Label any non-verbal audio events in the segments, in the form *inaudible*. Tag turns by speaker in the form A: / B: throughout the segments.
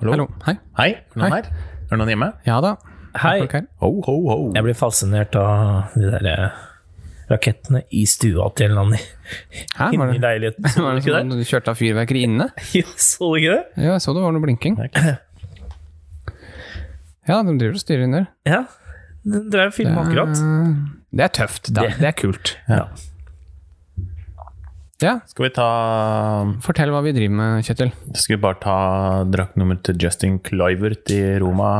A: Hallo.
B: Hallo. Hei.
A: Hei, er det noen
B: Hei.
A: her? Er det noen hjemme?
B: Ja da.
C: Hei.
B: Folk her.
A: Ho, ho, ho.
C: Jeg blir fascinert av de der eh, rakettene i stua til han i-
B: Hæ, var
C: inne i
B: det,
C: leiligheten. Så
B: *laughs* var
C: du
B: det
C: ikke
B: sånn
C: det?
B: at du kjørte av fyrverkeri inne?
C: *laughs* Ja, så du ikke det?
B: Ja, jeg så det var noe blinking. Ja, de driver og styrer inn der.
C: Ja. Den dreier og filmer akkurat.
B: Det er tøft. Det,
C: Det-
B: det er kult.
C: Ja.
B: Ja,
A: Skal vi ta
B: fortell hva vi driver med, Kjetil.
A: Skal vi bare ta draktnummeret til Justin Clivert i Roma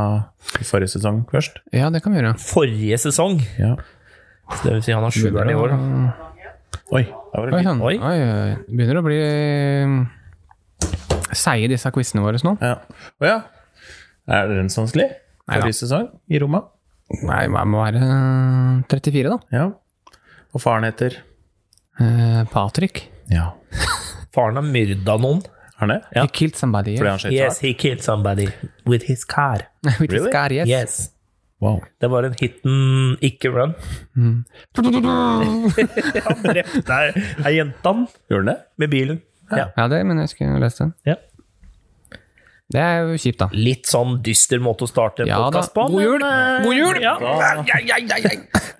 A: i forrige sesong først?
B: Ja, det kan vi gjøre.
C: Forrige sesong.
A: Ja.
C: Det vil si han har sjueren i år. da.
A: Oi, der var det
B: Oi,
A: lyd.
B: sånn.
C: Oi.
B: Oi, oi, oi. Begynner å bli mm, seige disse quizene våre nå.
A: Ja. Å ja. Er den så vanskelig?
B: Neida.
A: Forrige sesong i Roma?
B: Nei, det må være 34, da.
A: Ja. Og faren heter
B: Eh, Patrick.
A: Ja.
C: Faren har myrda noen.
A: Er han det?
B: He killed somebody. *laughs*
A: Fordi han skøyt
C: Yes,
A: yes.
C: he killed somebody with his car.
B: With his
A: Really?
B: car, yes. *laughs*
C: Yes.
A: Wow.
C: Det var en hit and ikke run. *laughs* Han drepte ei- ei jente
A: Gjorde han det?
C: med bilen. Ja.
B: Ja, det mener jeg skulle lese det.
C: ja.
B: Det er jo kjipt, da.
C: Litt sånn dyster måte å starte en
B: Ja da.
C: podcast på.
B: God jul!
C: men, eh,
B: God jul!
C: Ja.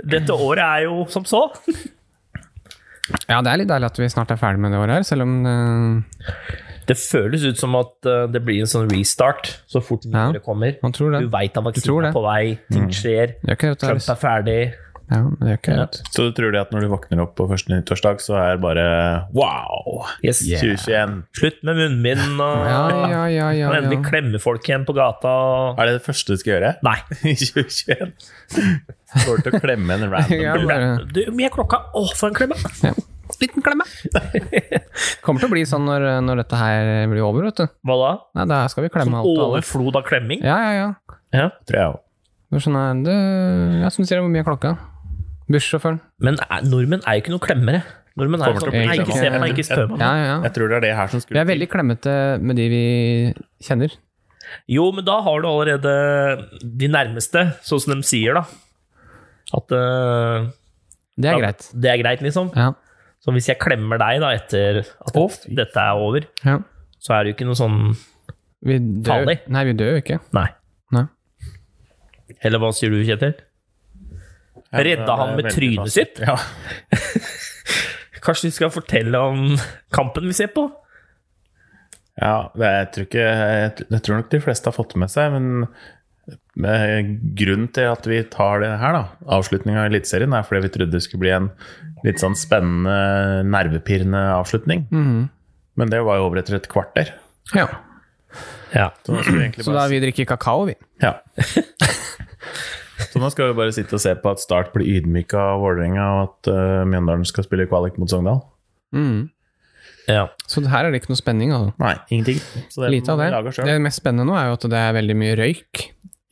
C: Dette året er jo som så.
B: Ja, det er litt deilig at vi snart er ferdig med det året her, selv om eh,
C: Det føles ut som at eh, det blir en sånn restart så fort
B: Ja,
C: nyåret kommer.
B: man tror det.
C: Du veit at
B: tror
C: vaksinen
B: det. Mm.
C: er på vei, ting skjer,
B: Det gjør ikke det.
C: Trump
B: vet du.
C: er ferdig.
B: Ja, det gjør ikke det. vet du.
A: Så du tror det at når du våkner opp på første nyttårsdag, så er det bare wow!
C: Yes.
A: 2021.
C: Slutt med munnbind og
B: Ja, ja, ja, ja,
C: Og endelig
B: ja.
C: klemme folk igjen på gata. og-
A: Er det det første du skal gjøre? *laughs*
C: Nei.
A: I 2021. Går til å klemme en random
B: *laughs* *laughs* Ja, bare
C: Du, hvor mye er klokka? Å, for en klemme!
B: Liten klemme. Kommer til å bli sånn når, når dette her blir over, vet du.
C: *laughs* Hva da?
B: Nei, da skal vi klemme
C: Sånn
B: alt og alle.
C: Overflod av klemming?
B: Ja, ja, ja.
C: Ja.
A: tror jeg også.
B: Det er sånn her, det, ja, som du sier, hvor mye er klokka? Bussjåføren.
C: Men eh, nordmenn er jo ikke noen klemmere. Nordmenn er jo
A: Kommer til å
C: sånn
A: bli
C: Nei, ikke se på meg,
A: klemmere.
C: ikke spør meg.
B: Ja, ja, ja.
A: Jeg tror det er det her som
B: Vi
A: skulle
B: er veldig klemmete med de vi kjenner.
C: Jo, men da har du allerede de nærmeste, sånn som de sier, da. At eh,
B: Det er
C: Ja,
B: greit.
C: Det er greit, liksom.
B: Ja.
C: Så hvis jeg klemmer deg da etter at dette er over,
B: ja.
C: så er det jo ikke noe sånn
B: Vi dør.
C: Farlig.
B: Nei, vi dør jo ikke.
C: Nei.
B: Nei.
C: Eller hva sier du, Kjetil?
A: det
C: Redda
A: er
C: han med
A: veldig
C: trynet
A: fast.
C: sitt?
A: Ja.
C: Kanskje vi skal fortelle om kampen vi ser på?
A: ja det, jeg, tror ikke, jeg, jeg tror nok de fleste har fått det med seg, men men grunnen til at vi tar det her, da, avslutninga av Eliteserien, er fordi vi trodde det skulle bli en litt sånn spennende, nervepirrende avslutning.
B: Mm.
A: Men det var jo over etter et kvarter.
B: Ja.
C: Ja.
A: Så nå skal vi egentlig
B: Så da
A: bare
B: vi drikker kakao, vi.
A: Ja. *laughs* Så nå skal vi bare sitte og se på at Start blir ydmyka av Vålerenga, og at eh, Mjøndalen skal spille kvalik mot Sogndal.
B: Mm.
C: ja.
B: Så det her er det ikke noe spenning, altså.
A: Nei, ingenting. Så det
B: Lite av
A: må vi
B: det.
A: eh, lager selv.
B: Det mest spennende nå er jo at det er veldig mye røyk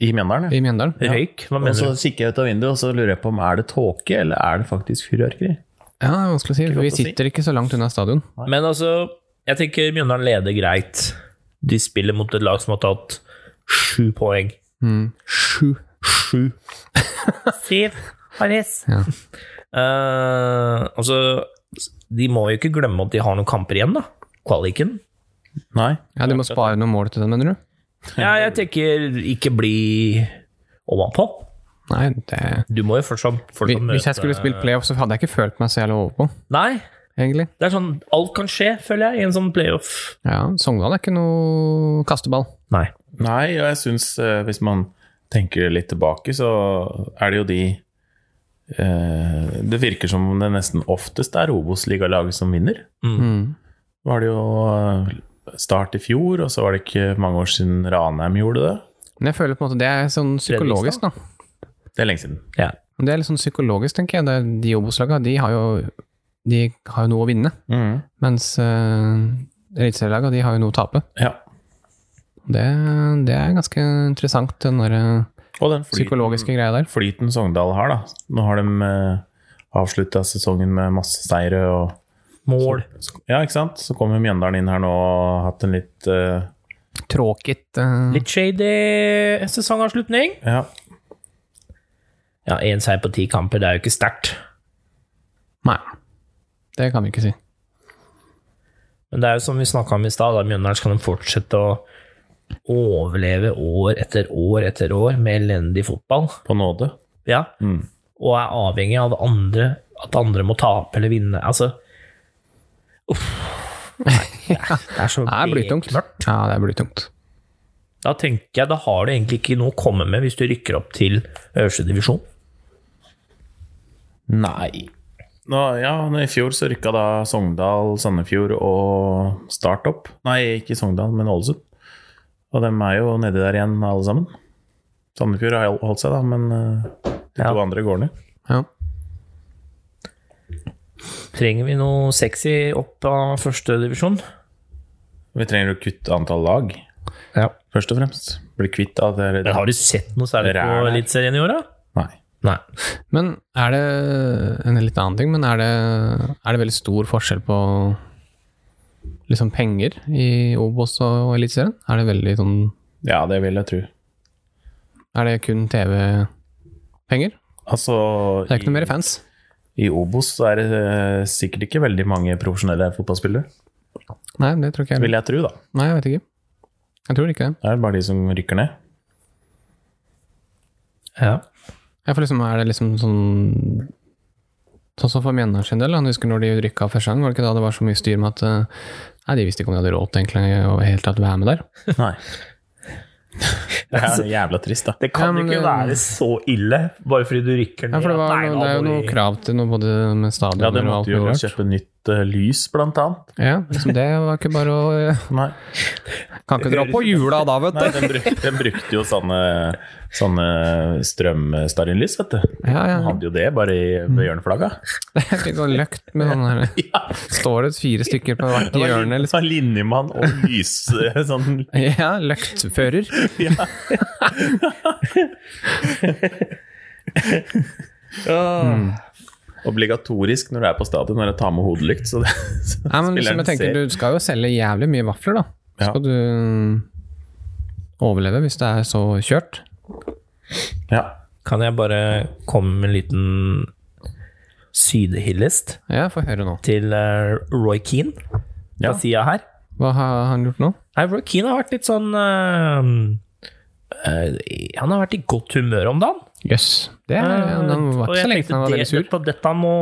A: I Mjøndalen, ja.
B: i Mjøndalen.
C: Røyk? Hva
A: Og
C: mener
A: så
C: du?
A: kikker jeg ut av vinduet og så lurer jeg på om er det tåke eller er det faktisk fyrverkeri.
B: Ja, det er vanskelig å si.
A: godt å
B: Vi
A: si.
B: sitter ikke så langt unna stadion.
C: Men altså, jeg tenker Mjøndalen leder greit. De spiller mot et lag som har tatt sju poeng.
B: Mm. Sju.
C: Sju. *laughs* Siv Harris.
B: Ja.
C: Eh, altså, de må jo ikke glemme at de har noen kamper igjen, da. Kvaliken.
A: Nei.
B: Ja, du må spare noen mål til den, mener du?
C: Ja, jeg tenker ikke bli ovenpå.
B: Nei, det
C: Du må jo fortsatt,
B: Vi-
C: fortsatt møte
B: Hvis jeg skulle spilt playoff, så hadde jeg ikke følt meg så jævlig overpå,
C: Nei,
B: egentlig.
C: det er sånn alt kan skje, føler jeg, i en sånn playoff.
B: Ja, Sogndal er ikke noe kasteball.
C: Nei.
A: Nei, og jeg syns eh, hvis man tenker litt tilbake, så er det jo de eh, Det virker som om det nesten oftest er Obos-ligalaget som vinner.
B: Mm.
A: Var det jo eh, Start i fjor, og så var det ikke mange år siden Ranheim gjorde det.
B: Men jeg føler på en måte det er sånn psykologisk, da.
A: Det er lenge siden.
C: Ja.
B: Men Det er litt sånn psykologisk, tenker jeg. Det er de Obos-laga, de har jo de har jo noe å vinne. Mens uh, eliteserielaga, de har jo noe å tape.
A: Ja.
B: Det, det er ganske interessant, den der eh,
A: Og den flyten,
B: psykologiske greia der.
A: flyten Sogndal har, da. Nå har de eh, avslutta sesongen med masse seire og
C: Mål.
A: Ja, ikke sant? Så kommer Mjøndalen inn her nå og har hatt en litt eh,
B: Tråkigt. eh,
C: Litt shady sesongavslutning.
A: Ja.
C: Ja, én seier på ti kamper, det er jo ikke sterkt.
B: Nei. Det kan vi ikke si.
C: Men det er jo som vi snakka om i stad, da, Mjøndalen skal de fortsette å overleve år etter år etter år med elendig fotball,
A: På nåde.
C: ja,
A: Mm.
C: og er avhengig av andre, at andre må tape eller vinne. Altså Uff. Nei, det er så
B: Det er blytungt. Ja, det er blytungt.
C: Da tenker jeg, da har du egentlig ikke noe å komme med hvis du rykker opp til øverste divisjon.
A: Nei. Nå, ja, nå I fjor så rykka da Sogndal, Sandefjord og Start opp. Nei, ikke Sogndal, men Ålesund. Og dem er jo nedi der igjen, alle sammen. Sandefjord har holdt seg, da, men eh, de
C: Ja.
A: to andre går ned.
B: Ja.
C: Trenger vi noe sexy opp av første divisjon?
A: Vi trenger å kutte antall lag,
C: Ja.
A: først og fremst. Bli kvitt av det
C: Men har du sett noe særlig
A: Dere
C: på
A: er der.
C: Eliteserien i år, da?
A: Nei.
C: Nei.
B: Men er det en litt annen ting, men er det, er det veldig stor forskjell på liksom penger i Obos og Eliteserien? Er det veldig sånn
A: Ja, det vil jeg tro.
B: Er det kun TV-penger?
A: Altså
B: Det er ikke noe mer fans.
A: I Obos så er det eh, sikkert ikke veldig mange profesjonelle fotballspillere,
B: Nei, det tror ikke jeg.
A: vil jeg tro, da.
B: Nei, jeg vet ikke. Jeg tror ikke det.
A: Det er bare de som rykker ned.
C: Ja.
B: Jeg får liksom, er det liksom sånn Sånn som for Mjøndalen sin del. da. Jeg husker når de rykka første gang, var det ikke da det var så mye styr med at eh, Nei, de visste ikke om de hadde råd til egentlig å helt tatt være med der.
A: Nei. *laughs* Det er så jævla trist, da.
C: Det kan
B: Ja, men
C: ikke
B: det-
C: være så ille, bare fordi du rykker ned.
B: Ja, for det, var,
C: Nei, da
B: noe- det er jo
C: må
B: noe
C: vi-
B: krav til noe både med
A: Ja,
B: stadioner
A: det
B: og alt
A: måtte jo
B: mulig rart.
A: kjøpe nytt eh, lys, blant annet.
B: Ja, liksom det var ikke bare å eh,
A: Nei,
B: Kan ikke dra på hjula da, vet
A: Nei den, bruk, den brukte jo sånne, sånne strømstearinlys, vet du.
B: *laughs* Ja, ja. Mm.
A: Den hadde jo det, bare i ved hjørneflagga.
B: *laughs* Det er litt sånn løkt med sånn
A: *laughs*
B: her Står det fire stykker på hvert
A: Det var
B: hjørne,
A: lin-
B: liksom?
A: Sånn linjemann og lys *laughs* sånn,
B: Ja, løktfører.
A: ja.
B: Mm.
A: Obligatorisk når du er på stadion, når du tar med hodelykt. Så det, så
B: Nei, men liksom,
A: spilleren
B: jeg tenker,
A: ser-
B: du skal jo selge jævlig mye vafler, da.
A: Ja.
B: Skal du mm, overleve hvis det er så kjørt?
A: ja.
C: Kan jeg bare komme med en liten sidehillest
B: Ja, få høre nå.
C: til eh, Roy Keane
A: Ja.
C: fra sida her?
B: Hva har han gjort nå?
C: Nei, Roy Keane har vært litt sånn eh, eh, Han har vært i godt humør om dagen.
B: Jøss. Det er, han var
C: Eh, Og
B: ikke
C: jeg
B: så lenge
C: tenkte
B: siden han var
C: det-
B: veldig sur.
C: Dette, dette, må,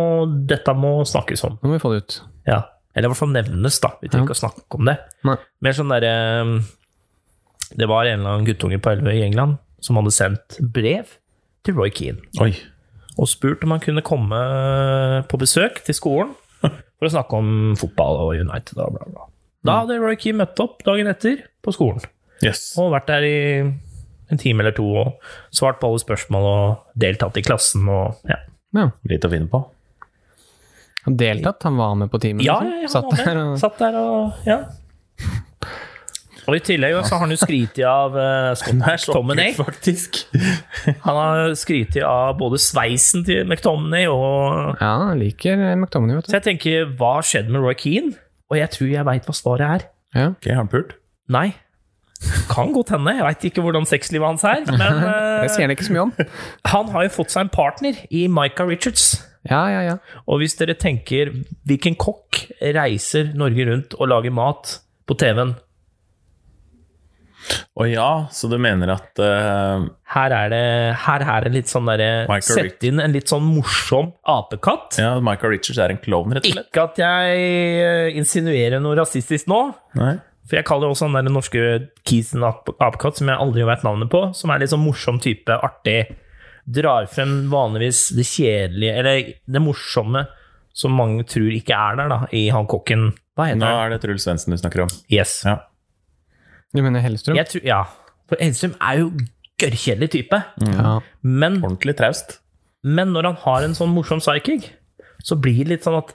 C: dette må snakkes om.
B: Nå må vi få det ut.
C: Ja. Eller i hvert fall nevnes, da. Vi trenger ikke å snakke om det.
B: Nei.
C: Mer sånn derre um, Det var en eller annen guttunge på 11 i England som hadde sendt brev til Roy Keane
A: Oi.
C: og spurt om han kunne komme på besøk til skolen for å snakke om fotball og United og bla, bla. Da hadde Roy Keane møtt opp dagen etter på skolen
A: Jøss.
C: og vært der i en time eller to og svart på alle spørsmål og deltatt i klassen og ja.
B: Ja.
A: Litt å finne på.
B: Han deltatt, han var med på timen?
C: Ja,
B: liksom.
C: ja,
B: Satt
C: ja, han var
B: der
C: med.
B: og
C: Satt der og ja. Og i tillegg så har han jo skrytt av uh,
B: *laughs*
C: McTominay.
A: faktisk.
C: Han har skrytt av både sveisen til McTominay og
B: Ja, han liker eh, McTominay, vet
C: Så jeg tenker, hva skjedde med Roy Keane? Og jeg tror jeg veit hva svaret er.
B: du. Ja.
A: Ok, har han pult?
C: Nei. Kan godt hende. Jeg veit ikke hvordan sexlivet hans er.
B: *laughs*
C: Men eh,
B: Det sier han ikke så mye om.
C: han har jo fått seg en partner i Micah Richards.
B: *laughs* Ja, ja, ja.
C: Og hvis dere tenker hvilken kokk reiser Norge rundt og lager mat på TV-en
A: Å ja, så du mener at eh,
C: her er det, her er det litt sånn derre
A: Micah
C: Sett inn en litt sånn morsom apekatt.
A: ja, Michael Richards er en klovn, rett og slett?
C: Ikke at jeg eh, insinuerer noe rasistisk nå,
A: Nei.
C: For jeg kaller jo også han der norske Kisen Ap- Apekatt, som jeg aldri vet navnet på, som er litt sånn morsom type, artig. Drar frem vanligvis det kjedelige, eller det morsomme, som mange tror ikke er der, da, i han kokken. Hva heter
A: Nå
C: han?
A: er det Truls Svendsen du snakker om.
C: Yes.
A: Ja.
B: Du mener Hellstrøm?
C: Jeg tror, ja. For Edstrøm er jo gørrkjedelig type.
A: Mm.
B: Ja.
C: Men,
A: Ordentlig traust.
C: men når han har en sånn morsom psychic, så blir det litt sånn at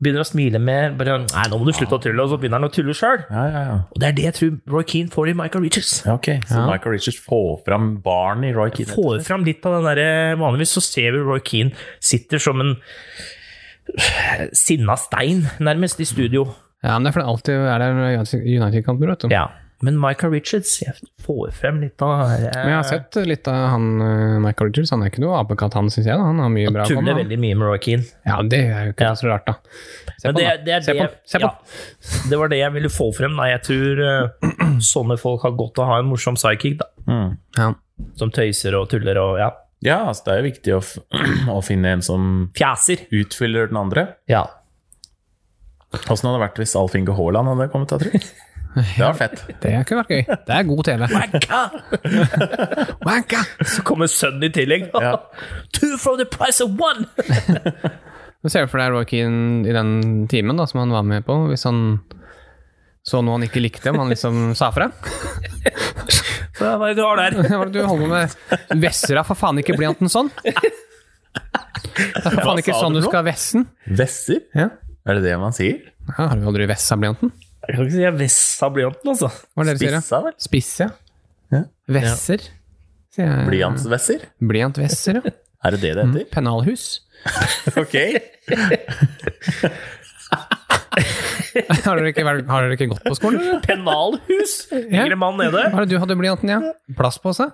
C: Begynner å smile mer. Bare, Nei, nå må du slutte å tulle, og så begynner han å tulle sjøl.
A: Ja, ja, ja.
C: Og det er det jeg tror Roy Keane får i Michael Richards.
A: Ja, ok. Så Michael Richards får fram barn i Roy Keane?
C: får fram litt av den der eh, Vanligvis så ser vi Roy Keane sitter som en eh, sinna stein, nærmest, i studio.
B: Ja, men det er fordi alltid er der United-kamper, vet du.
C: Ja. Men Michael Richards, jeg får frem litt av det her. eh,
B: Men jeg har sett litt av han eh, Michael Richards. Han er ikke noe apekatt, han, syns jeg. Da. Han har mye bra å komme
C: Tuller
B: med.
C: veldig mye med Roy Keane.
B: Ja, det er jo ikke så rart, da. Se
C: Men
B: på
C: det,
B: han, da.
C: det, er
B: Se på
C: det,
B: han. Se på
C: ja,
B: han.
C: det var det jeg ville få frem. Da. Jeg tror eh, *clears throat* sånne folk har godt av å ha en morsom sidekick, da.
A: Mm.
B: Ja.
C: Som tøyser og tuller og ja,
A: Ja, altså det er jo viktig å, f *clears throat* å finne en som
C: fjaser.
A: utfyller den andre.
C: Ja.
A: Åssen hadde det vært hvis Alf Inge Haaland hadde kommet, da, *laughs* tror jeg? Det var fett.
B: Det kunne vært gøy. Det er god TV. *laughs* Wanka!
C: Så kommer sønnen i *laughs* tillegg.
A: Ja.
C: Two from the price of one!
B: Men ser du for deg Roy Keane i den timen da, som han var med på, hvis han så noe han ikke likte, om han liksom sa fra? *laughs*
C: Så hva er det du har der?
B: Hva er det du holder med? Vesser av for faen ikke blyanten *laughs* sånn! Det er for faen ikke
A: sa
B: sånn
A: du
B: du
A: nå?
B: skal vesse den!
A: Vesser?
B: Ja.
A: Er det det man sier?
B: Ja, har du aldri vessa blyanten?
C: Jeg kan ikke si jeg vessa blyanten, altså.
B: Hva er det dere sier?
A: Spissa, vel?
B: da? Spiss, ja.
A: Ja.
B: Vesser. sier jeg.
A: Blyantsvesser?
B: Blyantvesser, *laughs* ja.
A: Er det det det heter?
B: Pennalhus.
A: Mm. Ok.
B: *laughs* Har dere ikke, vært- har dere ikke gått på skolen? eller?
C: Pennalhus! Yngre mann nede.
B: Hva er det du hadde blyanten, ja? Plastpose?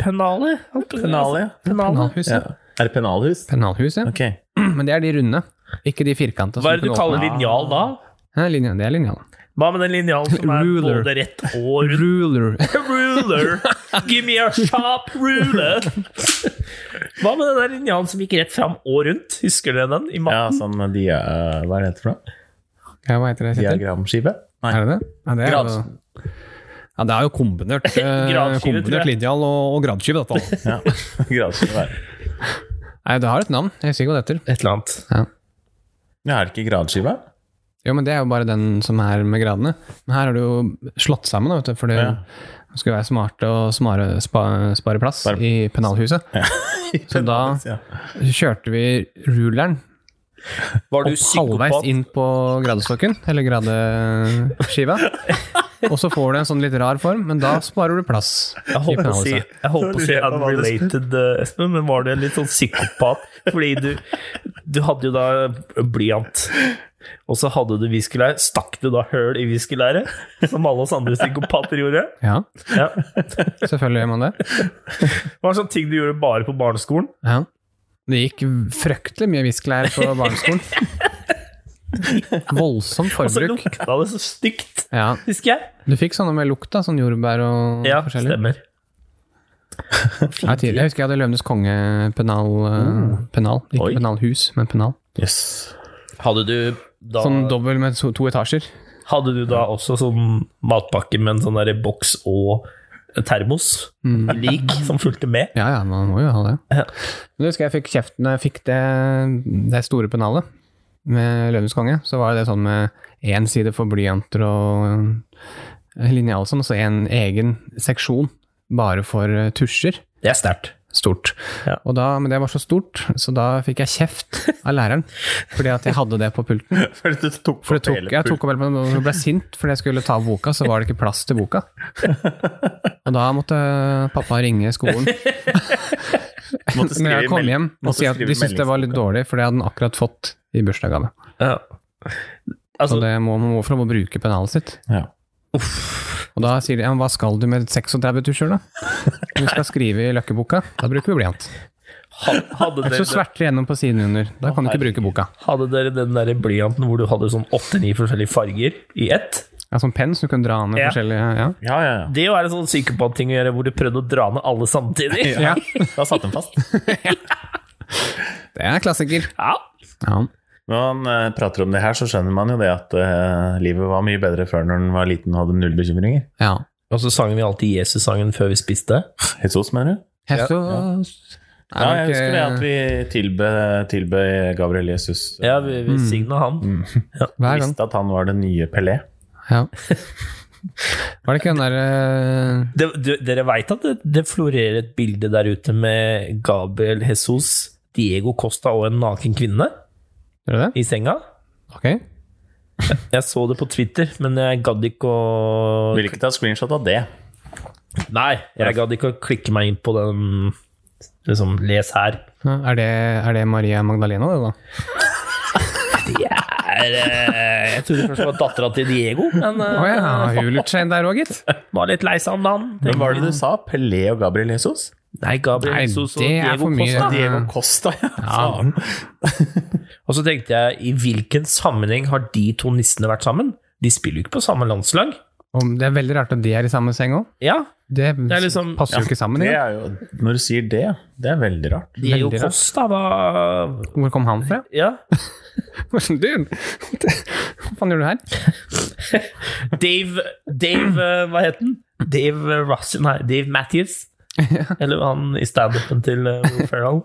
C: Pennale.
A: Pennalia.
C: Pennale.
B: Pennalhus,
A: Ja.
B: ja.
A: Er det pennalhus?
B: Pennalhus, ja.
A: Ok.
B: Men det er de runde, ikke de firkanta. som
C: Hva er det
B: kunne
C: du kaller
B: åpne.
C: linjal da?
B: Ja, linja, det er linjalen.
C: Hva med den linjalen som er
B: Ruler.
C: både rett og
B: *laughs* Ruler.
C: rundt? Ruler! Give me a sharp ruler! Hva med den der linjalen som gikk rett fram og rundt? Husker dere den? I
A: Ja,
C: matten?
A: sånn dia... Hva er det heter for noe?
B: Ja, hva heter det? Kjetil?
A: Diagramskive? Nei.
B: Er det det? Ja, det er,
A: Grad.
B: jo- ja, det er jo
C: *laughs*
B: kombinert, eh,
C: Gradskive, tror
B: kombinert
C: jeg.
B: linjal og, og gradskive,
C: *laughs*
B: dette. altså.
A: Ja. *laughs* Gradskive er det.
B: Nei, det har et navn. Jeg husker ikke hva det heter.
C: Et eller annet.
A: Ja, er det ikke gradskive?
B: Jo, men det er jo bare den som er med gradene. Men her har du jo slått sammen, da, vet du, for det
A: Ja.
B: skal være smart og smare, spa, spare plass
A: Spare-
B: i pennalhuset.
C: *laughs*
B: Så da
A: Ja.
B: kjørte vi ruleren
C: Var du
B: opp halvveis
C: psykopat?
B: inn på gradestokken, eller
C: *laughs*
B: gradeskiva. Og så får du en sånn litt rar form, men da sparer du plass.
C: Jeg holdt på å si,
B: Hypnose.
C: jeg holdt på å si
A: Jeg lurer på hva du
C: unrelated, eh, Espen, men var du en litt sånn psykopat? Fordi du, du hadde jo da blyant, og så hadde du viskelære. Stakk du da høl i viskelæret, som alle oss andre psykopater gjorde?
B: Ja,
C: Ja.
B: selvfølgelig gjør man det.
C: Det var en sånn ting du gjorde bare på barneskolen.
B: Ja. Det gikk fryktelig mye viskelær
C: *laughs*
B: på barneskolen. Voldsomt
C: Og så
B: forbruk.
C: lukta det så stygt,
B: Ja,
C: husker jeg.
B: Du fikk sånne med lukt, da, sånn jordbær og
C: Ja,
B: forskjellig.
C: stemmer.
B: Ja, tidlig. Jeg husker jeg hadde Løvenes konge-pennal. eh,
C: Mm.
B: pennal. Ikke
A: Oi.
B: pennalhus, men pennal.
A: Yes.
C: Hadde du da,
B: Sånn dobbel med to, to etasjer.
C: hadde du da også sånn matpakke med en sånn derre boks og termos? *laughs* Lik som fulgte med?
B: Ja, ja, man må jo ha det.
C: Ja.
B: Men jeg husker jeg fikk kjeften når jeg fikk det, det store pennalet med Løvenes konge. Så var det sånn med én side for blyanter og linjal og sånn, og så en egen seksjon bare for eh, tusjer.
C: Det er sterkt.
B: Stort.
C: Ja.
B: Og da, men det var så stort, så da fikk jeg kjeft av læreren fordi at jeg hadde det på pulten.
A: *laughs* For du tok
B: For
A: opp
B: det tok,
A: hele
B: jeg tok
A: pulten.
B: opp hele pulten, og ble sint fordi jeg skulle ta av boka, så var det ikke plass til boka. Og da måtte pappa ringe skolen
A: Måtte
B: *laughs* når jeg
A: skrive
B: kom
A: meld-
B: hjem og
A: måtte
B: si at
A: skrive
B: de syntes det var litt
A: meldingsboka.
B: dårlig, for det hadde han akkurat fått i bursdagsgave.
C: Ja.
B: Så
C: Altså,
B: det må man må få lov å bruke pennalet sitt.
A: Ja.
B: Og da sier de ja, men hva skal du med 36 tusjer, da? Du skal skrive i løkkeboka. Da bruker vi blyant.
C: ha- hadde
B: Så
C: dere,
B: sverter det gjennom på siden under. Da kan du ikke bruke boka.
C: hadde dere den der blyanten hvor du hadde sånn åtte-ni forskjellige farger i ett?
B: Ja, sånn penn, så du kan dra ned
C: Ja.
B: forskjellige ja.
A: Ja, ja, ja.
C: Det var en sånn psykopat-ting å gjøre, hvor du prøvde å dra ned alle samtidig.
B: ja.
A: Da satt den
B: *laughs*
A: fast.
B: Det er klassiker.
C: Ja.
B: Ja.
A: Når man eh, prater om det her, så skjønner man jo det at eh, livet var mye bedre før når man var liten og hadde null bekymringer.
B: ja.
C: Og så sang vi alltid Jesus-sangen før vi spiste.
A: Jesus, mener du?
B: Hestos
A: Ja, jeg husker det at vi tilbød tilbe Gabriel Jesus.
C: Ja, vi, vi signa han.
B: Hver
A: *laughs*
B: gang.
A: visste at han var den nye Pelé.
B: Ja. Var det ikke eh, den derre
C: Det, du, dere veit at det, det florerer et bilde der ute med Gabriel Jesus, Diego Costa og en naken kvinne
B: Gjør du det?
C: i senga?
B: Ok.
C: Jeg så det på Twitter, men jeg gadd ikke å
A: Vil ikke ta screenshot av det.
C: Nei, jeg gadd ikke å klikke meg inn på den Liksom, les her.
B: Ja, Er det, er det Maria Magdalena, det, da?
C: Det er er eh, Jeg trodde først det var dattera til Diego, men eh,
B: Å ja, Hulutschein der òg, gitt.
C: var litt lei seg om dagen.
A: Hvem var det du sa? Pelé og Gabriel Jesus?
C: Nei, Gabriel
B: Nei,
C: Jesus og
B: det er
C: Diego
B: for mye.
C: Costa.
A: Diego Costa, ja. Faen.
C: Og så tenkte jeg, i hvilken sammenheng har de to nissene vært sammen? De spiller jo ikke på samme landslag.
B: Om det er veldig rart at de er i samme seng òg.
C: Ja,
B: Det,
C: det er liksom
B: passer jo ikke sammen.
A: Det
B: engang.
A: er jo, når du sier det, det er veldig rart.
C: Diego
B: veldig rart.
C: Costa var
B: Hvor kom han fra? *laughs*
C: Ja.
B: Dude, hva faen gjør du her?
C: Dave Dave, eh, hva het han? Dave Russi... Nei, Dave Matthews. Eller han i standupen til eh,
B: *laughs*
C: Will Ferrell.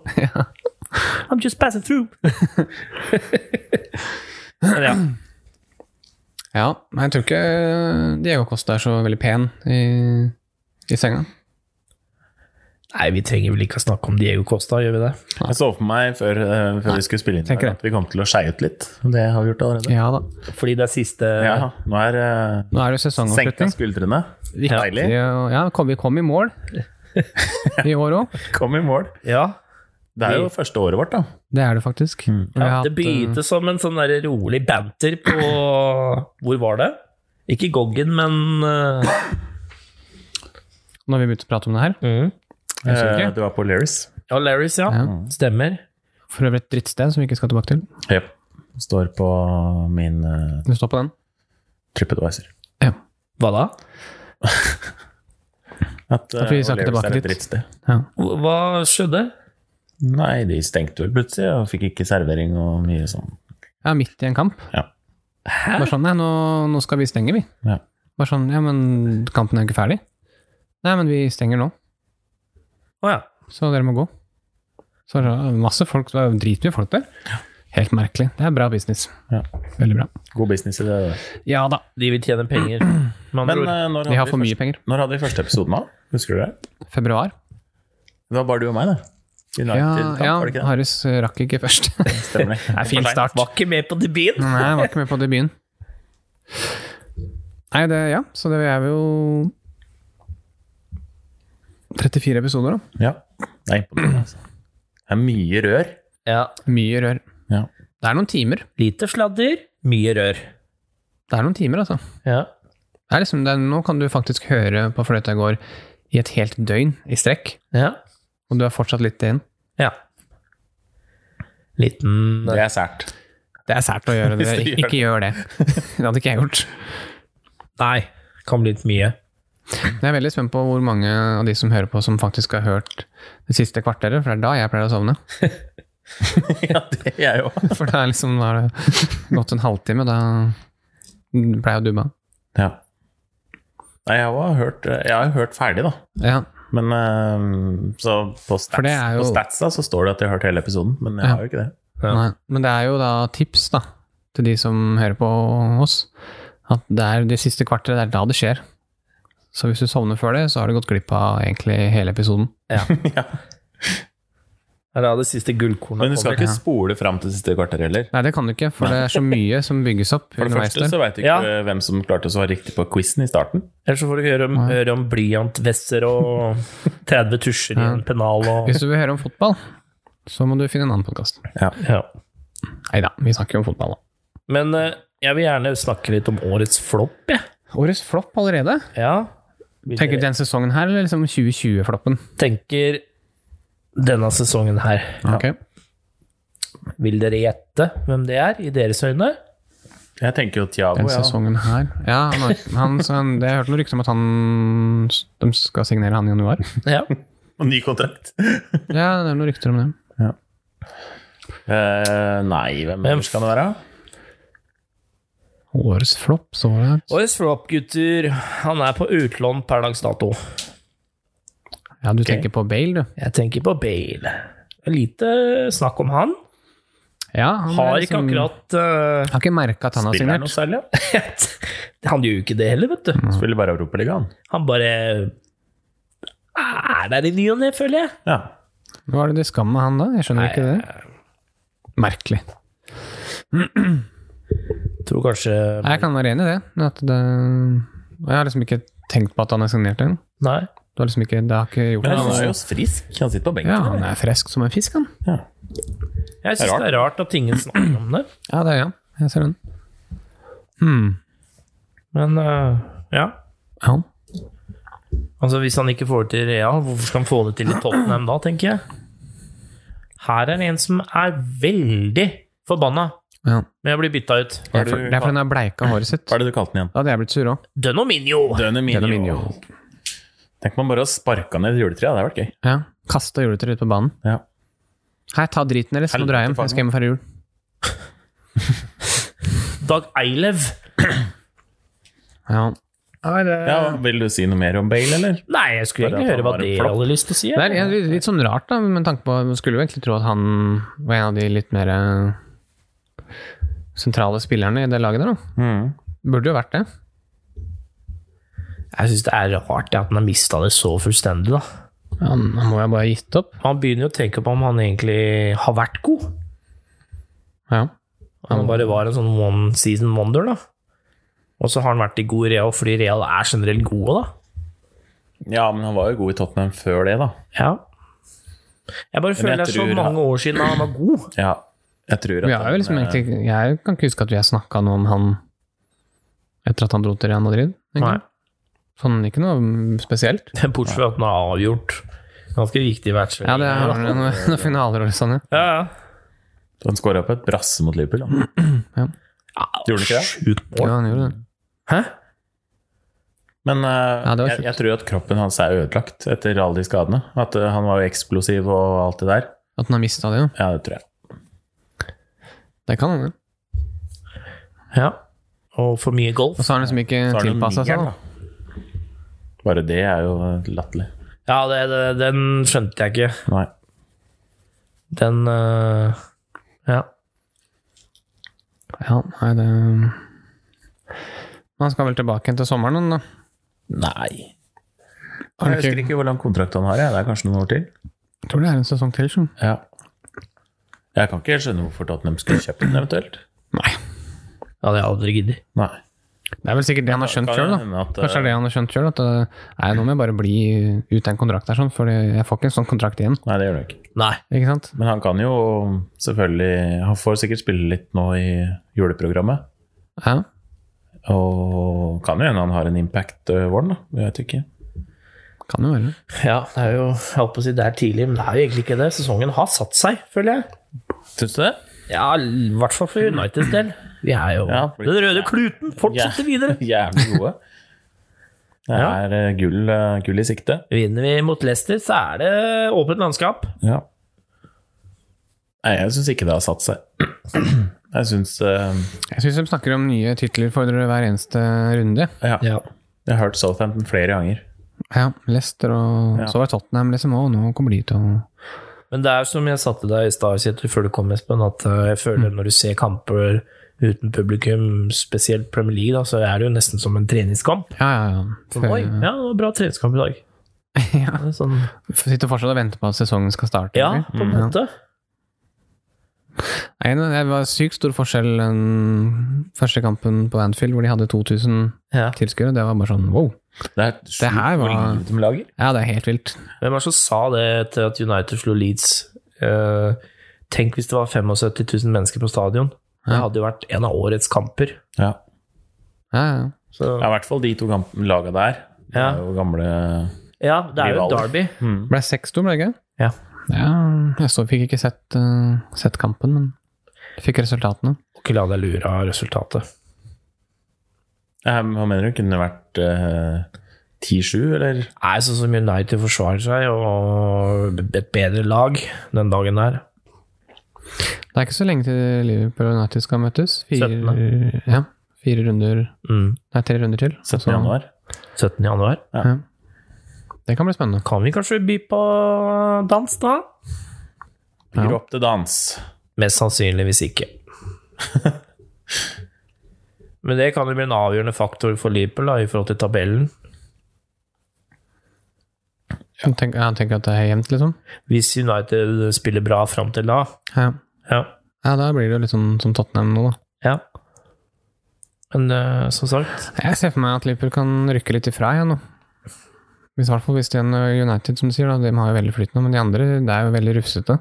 C: I'm just passing through. Men ja.
B: Ja, men jeg tror ikke Diego Costa er så veldig pen i, i senga.
C: Nei, vi trenger vel ikke å snakke om Diego Costa, gjør vi det?
A: Jeg så for meg før, eh, før vi skulle spille inn i
B: tenker
A: dag, at vi kom til å skeie ut litt. Det har vi gjort allerede.
B: Ja da.
C: Fordi det er siste
A: Ja, nå er uh,
B: Nå er det
A: senka
B: sesongavslutning.
A: skuldrene. Deilig.
B: Ja, ja, kom, vi kom i
C: *laughs*
B: mål i år òg.
A: Kom i mål.
C: Ja.
A: Det er jo første året vårt, da.
B: Det er det faktisk. Vi har
C: Mm. Ja, det
B: hatt, eh,
C: begynte som en sånn der rolig banter på Hvor var det? Ikke Goggen, men eh,
B: eh, når vi begynte å prate om det her. Jeg husker
A: Eh,
B: ikke.
A: det var på Lerris.
C: Ja, Larrys, ja. Stemmer.
B: For øvrig et drittsted som vi ikke skal tilbake til.
A: Yep. Står på min eh,
B: Du står på den?
A: TripAdvisor.
B: Ja.
C: Hva da?
A: At eh,
B: for vi skal ikke
A: O'Learys
B: tilbake
A: er et
B: dit.
A: drittsted.
B: ja.
C: Hva skjedde?
A: Nei, de stengte vel plutselig og fikk ikke servering og mye sånn.
B: Ja, midt i en kamp.
A: Ja.
B: Bare sånn, nei, nå, nå skal vi stenge, vi.
A: Ja.
B: Bare sånn, ja, men kampen er jo ikke ferdig. Nei, men vi stenger nå,
C: Å ja.
B: så dere må gå. Så det var masse folk, det var dritmye folk der. Helt merkelig. Det er bra business.
A: Ja.
B: Veldig bra.
A: God business i det. da.
B: Ja da.
C: De vil tjene penger, med andre
A: Men
C: ord.
A: eh, når,
B: Vi har
A: hadde
B: for
A: vi
B: mye
A: første,
B: penger.
A: når hadde vi første episoden av? Husker du det?
B: Februar.
A: Det var bare du og meg, det.
B: Ja,
A: United-kamp,
B: ja
A: var det ikke det?
B: Harris eh, rakk ikke først. *laughs*
A: Stemmer det.
B: Nei, fin start.
C: Var ikke med på debuten.
B: Nei, jeg var ikke med på debuten. Nei, det, ja, så det er jo 34 episoder, da.
A: Ja. Det er imponerende, altså. Det er mye rør.
C: Ja.
B: Mye rør.
A: Ja.
B: Det er noen timer.
C: Lite sladder, mye rør.
B: Det er noen timer, altså.
C: Ja.
B: Det er liksom, det er, nå kan du faktisk høre på fløyta i går i et helt døgn i strekk,
C: Ja.
B: og du er fortsatt litt inn.
C: ja. Liten
A: Det er sært.
B: Det er sært å gjøre det.
A: *laughs* Hvis du gjør
B: Ikke gjør det. Det hadde ikke jeg gjort.
C: Nei, kan bli litt mye.
B: Jeg er veldig spent på hvor mange av de som hører på, som faktisk har hørt det siste kvarteret, for det er da jeg pleier å sovne.
A: *laughs*
B: *laughs*
A: ja, det er jeg òg.
B: For det er liksom, da har det gått en halvtime, da pleier jeg å dubbe av.
A: Ja. Nei, jeg har hørt, jeg har hørt ferdig, da.
B: Ja.
A: Men eh, så på, stats,
B: For det er jo-
A: på statsa så står det at jeg har hørt hele episoden, men jeg
B: Ja.
A: har jo ikke det.
C: Ja.
B: Nei. Men det er jo da tips da, til de som hører på oss, at det er det siste kvarteret, det er da det skjer. Så hvis du sovner før det, så har du gått glipp av egentlig hele episoden.
C: Det er da det siste gullkornet
A: Men du skal
C: kommer.
A: ikke spole fram til siste kvarter heller.
B: Nei, det kan du ikke, for det er så mye som bygges opp
A: *laughs* For det
B: underveis
A: første
B: der.
A: så veit du ikke hvem som klarte å svare riktig på quizen i starten.
C: Ellers så får du høre om,
B: Nei.
C: høre om blyantvesser og
B: *laughs*
C: 30 tusjer i en pennal og
B: Hvis du vil høre om fotball, så må du finne en annen podkast.
C: ja.
B: Nei da, vi snakker jo om fotball, da.
C: Men eh, jeg vil gjerne snakke litt om årets flopp, jeg.
B: Årets flopp allerede?
C: Ja.
B: Tenker du den sesongen her, eller liksom 2020-floppen?
C: Tenker denne sesongen her.
B: Ok.
C: Vil dere gjette hvem det er, i deres øyne?
A: Jeg tenker jo Tiago,
B: Den
A: Oh, ja.
B: sesongen her Ja, han, har- han, så han, det, jeg hørte noen rykter om at han, de skal signere han
A: *laughs*
B: i januar.
C: Ja.
A: Og ny kontrakt. *laughs*
B: Ja, det er noen rykter om det.
A: Eh, nei, hvem
C: Hvem
A: ellers kan det være?
B: Årets flopp, så var det
C: Årets flopp, gutter. Han er på utlån per dags dato.
B: Ja, du tenker på Bale, du.
C: Jeg tenker på Bale. Lite snakk om han.
B: Ja, han er
C: Har ikke
B: liksom-
C: akkurat eh,
B: Har ikke merka at han har
A: Spiller han
B: signert.
A: noe særlig? ja?
C: *laughs* Han gjør jo ikke det heller, vet du.
A: Spiller bare Europaligaen.
C: Han bare er der i ny og ne, føler jeg.
A: Ja.
B: Hva er det det skam med han, da? Jeg skjønner ikke det. Merkelig.
C: Tror kanskje
B: Nei, Jeg kan være enig i det. men At det og jeg har liksom ikke tenkt på at han er signert ennå.
C: Nei.
B: Det har liksom ikke, det har ikke gjort
A: Men han
B: det.
A: er jo frisk. Han sitter på benken.
B: Ja, han er frisk som en fisk, han.
A: Ja.
C: Jeg syns det er rart at ingen snakker om det.
B: Ja, det er han. jeg ser den. Hmm.
C: Men eh, ja.
B: Ja.
C: Altså, Hvis han ikke får det til Real, hvorfor skal han få det til i Tottenham da, tenker jeg? Her er det en som er veldig forbanna
B: ja.
C: med å bli bytta ut.
B: Det er for- det er fordi han har bleika håret sitt.
A: Hva er det du kalte den igjen?
B: Da hadde jeg blitt sur òg.
C: Dønominio!
A: Døneminio.
B: Døneminio.
A: Tenk man bare å sparke ned juletreet, det hadde vært gøy.
B: Ja. Kasta juletreet ut på banen.
A: Ja.
B: Hei, ta driten deres, nå drar jeg hjem. Jeg skal hjem og feire jul.
C: Dag Eilev.
B: Ja.
A: Ja, vil du si noe mer om Bale, eller?
C: Nei, jeg skulle
A: Bare at
C: egentlig
A: han
C: høre hva
A: var en
C: dere
A: flopp.
C: hadde lyst til å si.
B: Det
C: jeg.
B: er ja, litt, litt sånn rart, da, med tanke på Man skulle jo egentlig tro at han var en av de litt mer eh, sentrale spillerne i det laget der, da. Burde jo vært det.
C: Jeg syns det er rart ja, at han har mista det så fullstendig, da.
B: Han, han må jo bare ha gitt opp.
C: Han begynner jo å tenke på om han egentlig har vært god.
B: Ja.
C: Han bare var en sånn one season wonder, da. Og så har han vært i god Real fordi Real er generelt gode, da.
A: Ja, men han var jo god i Tottenham før det, da.
C: Ja. Jeg bare føler det er så
A: tror-
C: mange år siden han var god.
A: Ja, jeg tror at
B: Vi har jo liksom
A: han, eh,
B: egentlig Jeg kan ikke huske at vi har snakka noe om han etter at han dro til Real Madrid. egentlig.
C: *laughs* Nei,
B: Sånn ikke noe spesielt.
C: Bortsett fra at han har avgjort ganske viktig matcher.
B: Ja, det har han jo noen, noen finaler og sånn, ja.
C: ja, ja.
A: Han skåra på et brasse mot Liverpool. Da. Gjorde han ikke det?
C: Sjukt
B: ja.
C: mål.
B: Han gjorde det.
C: Hæ?
A: Men eh,
B: Ja, det var
A: jeg,
B: sjukt.
A: jeg tror at kroppen hans er ødelagt etter alle de skadene. At eh, han var jo eksplosiv og alt det der.
B: At han har mista det, ja.
A: Ja, det tror jeg.
B: Det kan han jo.
C: Ja. Og for mye golf.
B: Og så har han liksom ikke
A: Så er det jo
B: tilpassa seg,
A: nieren,
B: da.
A: da. Bare det er jo eh, latterlig.
C: Ja, det, det, den skjønte jeg ikke.
A: Nei.
C: Den øh, Ja.
B: Ja, nei, det Man skal vel tilbake igjen til sommeren, da.
A: Nei.
B: Har
A: Jeg
B: han ikke-
A: husker ikke hvor lang kontrakt han har. Jeg. Det er kanskje noen år til.
B: Jeg tror det er en sesong til, sjø.
A: Ja. Jeg kan ikke helt skjønne hvorfor Tottenham skulle kjøpt den, eventuelt.
B: Nei.
C: Det hadde jeg aldri giddet.
A: Nei.
B: Det er vel sikkert det han har skjønt
A: Kan
B: sjøl, da.
A: hende at, eh,
B: Kanskje det er det han har skjønt sjøl, at eh, nei, nå må jeg bare bli uten en kontrakt her, sånn, for jeg får ikke en sånn kontrakt igjen.
A: eh, Nei, det gjør det ikke.
C: Nei.
B: Ikke sant?
A: Men han kan jo selvfølgelig Han får sikkert spille litt nå i juleprogrammet.
B: Ja.
A: Og kan jo hende han har en impact eh, våren, da. Jeg vet ikke.
B: Kan jo være.
C: Ja, det er jo Jeg holdt på å si det er tidlig, men det er jo egentlig ikke det. Sesongen har satt seg, føler jeg.
A: Syns du det?
C: Ja, i hvert fall for Uniteds del. Vi er jo
A: Ja, fordi-
C: Den røde kluten fortsetter videre.
A: *laughs* Jævlig gode. Det
C: Ja.
A: er eh, gull, eh, gull i sikte.
C: Vinner vi mot Leicester, så er det åpent landskap.
A: Ja. Nei, jeg syns ikke det har satt seg. Jeg syns eh,
B: Jeg syns de snakker om nye titler for dere hver eneste runde.
A: ja, Jeg har hørt Southampton flere ganger.
B: Ja, Leicester og
A: Ja.
B: så var det Tottenham, liksom. Å, nå kommer de til å
C: Men det er som jeg sa til deg i stad, Kjetil, før du kom, Espen, at eh, jeg føler når du ser kamper uten publikum, spesielt Premier League, da, så er det jo nesten som en treningskamp.
B: Ja, ja, ja. Før-
C: Oi, ja, det var bra treningskamp i dag.
B: *laughs* ja.
C: Det er Sånn,
B: Sitter fortsatt og venter på at sesongen skal starte.
C: ja,
B: eller?
C: på
A: Mm.
C: en måte.
B: Nei, men det var sykt stor forskjell den første kampen på Anfield, hvor de hadde 2000
C: Ja.
B: tilskuere. Det var bare sånn wow.
A: Det er sjukt
B: Det her
A: hvor
B: var-
A: lite de lager.
B: Ja, det er helt vilt.
C: Hvem er det som sa det til at United slo Leeds? Eh, tenk hvis det var 75 000 mennesker på stadion. Det hadde jo vært en av årets kamper.
A: Ja.
B: Ja, ja.
C: Så,
A: Ja, I hvert fall de to gamp- laga der. Det
C: Ja.
A: er jo gamle
C: ja, det er jo
A: Rivaler.
C: Derby.
B: Ble 6-2, ble det ikke?
C: Ja.
B: ja jeg så, fikk ikke sett, eh, sett kampen, men jeg fikk resultatene.
C: Og ikke la deg lure av resultatet.
A: Eh, Hva mener du? Kunne det vært eh, 10-7, eller?
C: Nei, sånn som United forsvarer seg, og et bedre lag den dagen der.
B: Det er ikke så lenge til Liverpool og United skal møtes. Fire,
C: 17..
B: ja, fire runder
C: Mm.
B: Nei, tre runder til.
A: 17.
B: Så-
A: januar?
C: 17. januar.
B: Det kan bli spennende.
C: Kan vi kanskje by på dans, da?
A: Ligger
B: Ja.
A: opp til dans.
C: Mest sannsynligvis ikke. *laughs* Men det kan jo bli en avgjørende faktor for Liverpool da, i forhold til tabellen.
B: Han tenker, han tenker at det er jevnt, liksom.
C: Hvis United spiller bra fram til da.
B: Ja.
C: Ja.
B: ja, da blir det jo litt sånn som Tottenham nå, da.
C: ja. Men eh, som sagt
B: Jeg ser for meg at Liverpool kan rykke litt ifra igjen nå. Hvis, i hvert fall hvis det er en United, som du sier, da, de har jo veldig flytende, men de andre det er jo veldig rufsete.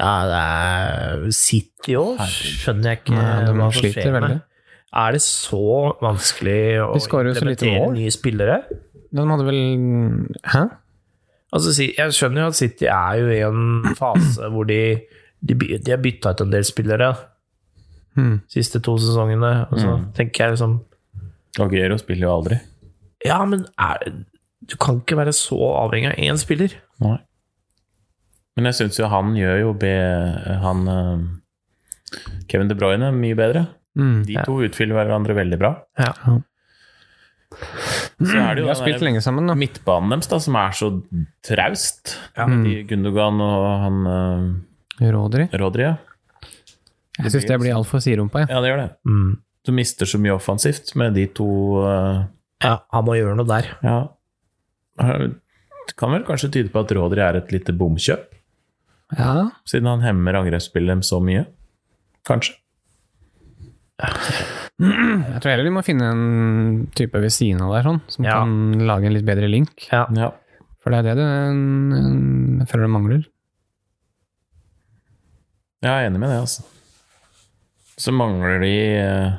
C: Ja, det er City òg, skjønner jeg ikke
B: Nei, de
C: hva som
B: sliter
C: skjer med.
B: veldig.
C: Er det så vanskelig å
B: De skårer jo så lite mål.
C: nye spillere?
B: De hadde vel Hæ?
C: Altså, si- jeg skjønner jo at City er jo i en
B: *clears throat*
C: fase hvor de, de, by- de har bytta ut en del spillere
B: Hmm.
C: siste to sesongene. Og så
B: Mm.
C: tenker jeg liksom
A: Aguero spiller jo aldri.
C: Ja, men er, du kan ikke være så avhengig av én spiller.
A: Nei. Men jeg syns jo han gjør jo be, han eh, Kevin De Bruyne mye bedre.
B: Mm.
A: De to utfyller hverandre veldig bra.
C: Ja.
A: Så er det
B: De
A: jo
B: har
A: den
B: spilt
A: der
B: lenge sammen, da.
A: midtbanen deres da, som er så traust.
C: Ja.
A: Med de Gundogan og han
B: Rodri.
A: eh, Rodri. ja.
B: Jeg syns det blir altfor siderumpa, jeg.
A: Ja, det gjør det.
C: Mm.
A: Du mister så mye offensivt med de to eh,
C: ja, han må gjøre noe der.
A: Ja. Det kan vel kanskje tyde på at Rodri er et lite bomkjøp,
B: Ja.
A: siden han hemmer angrepsspillet dem så mye. Kanskje.
B: Jeg tror heller de må finne en type ved siden av der, sånn, som
C: Ja.
B: kan lage en litt bedre link.
C: Ja.
A: Ja.
B: For det er det det en- jeg føler det mangler.
A: Jeg er enig med det, altså. Så mangler de eh,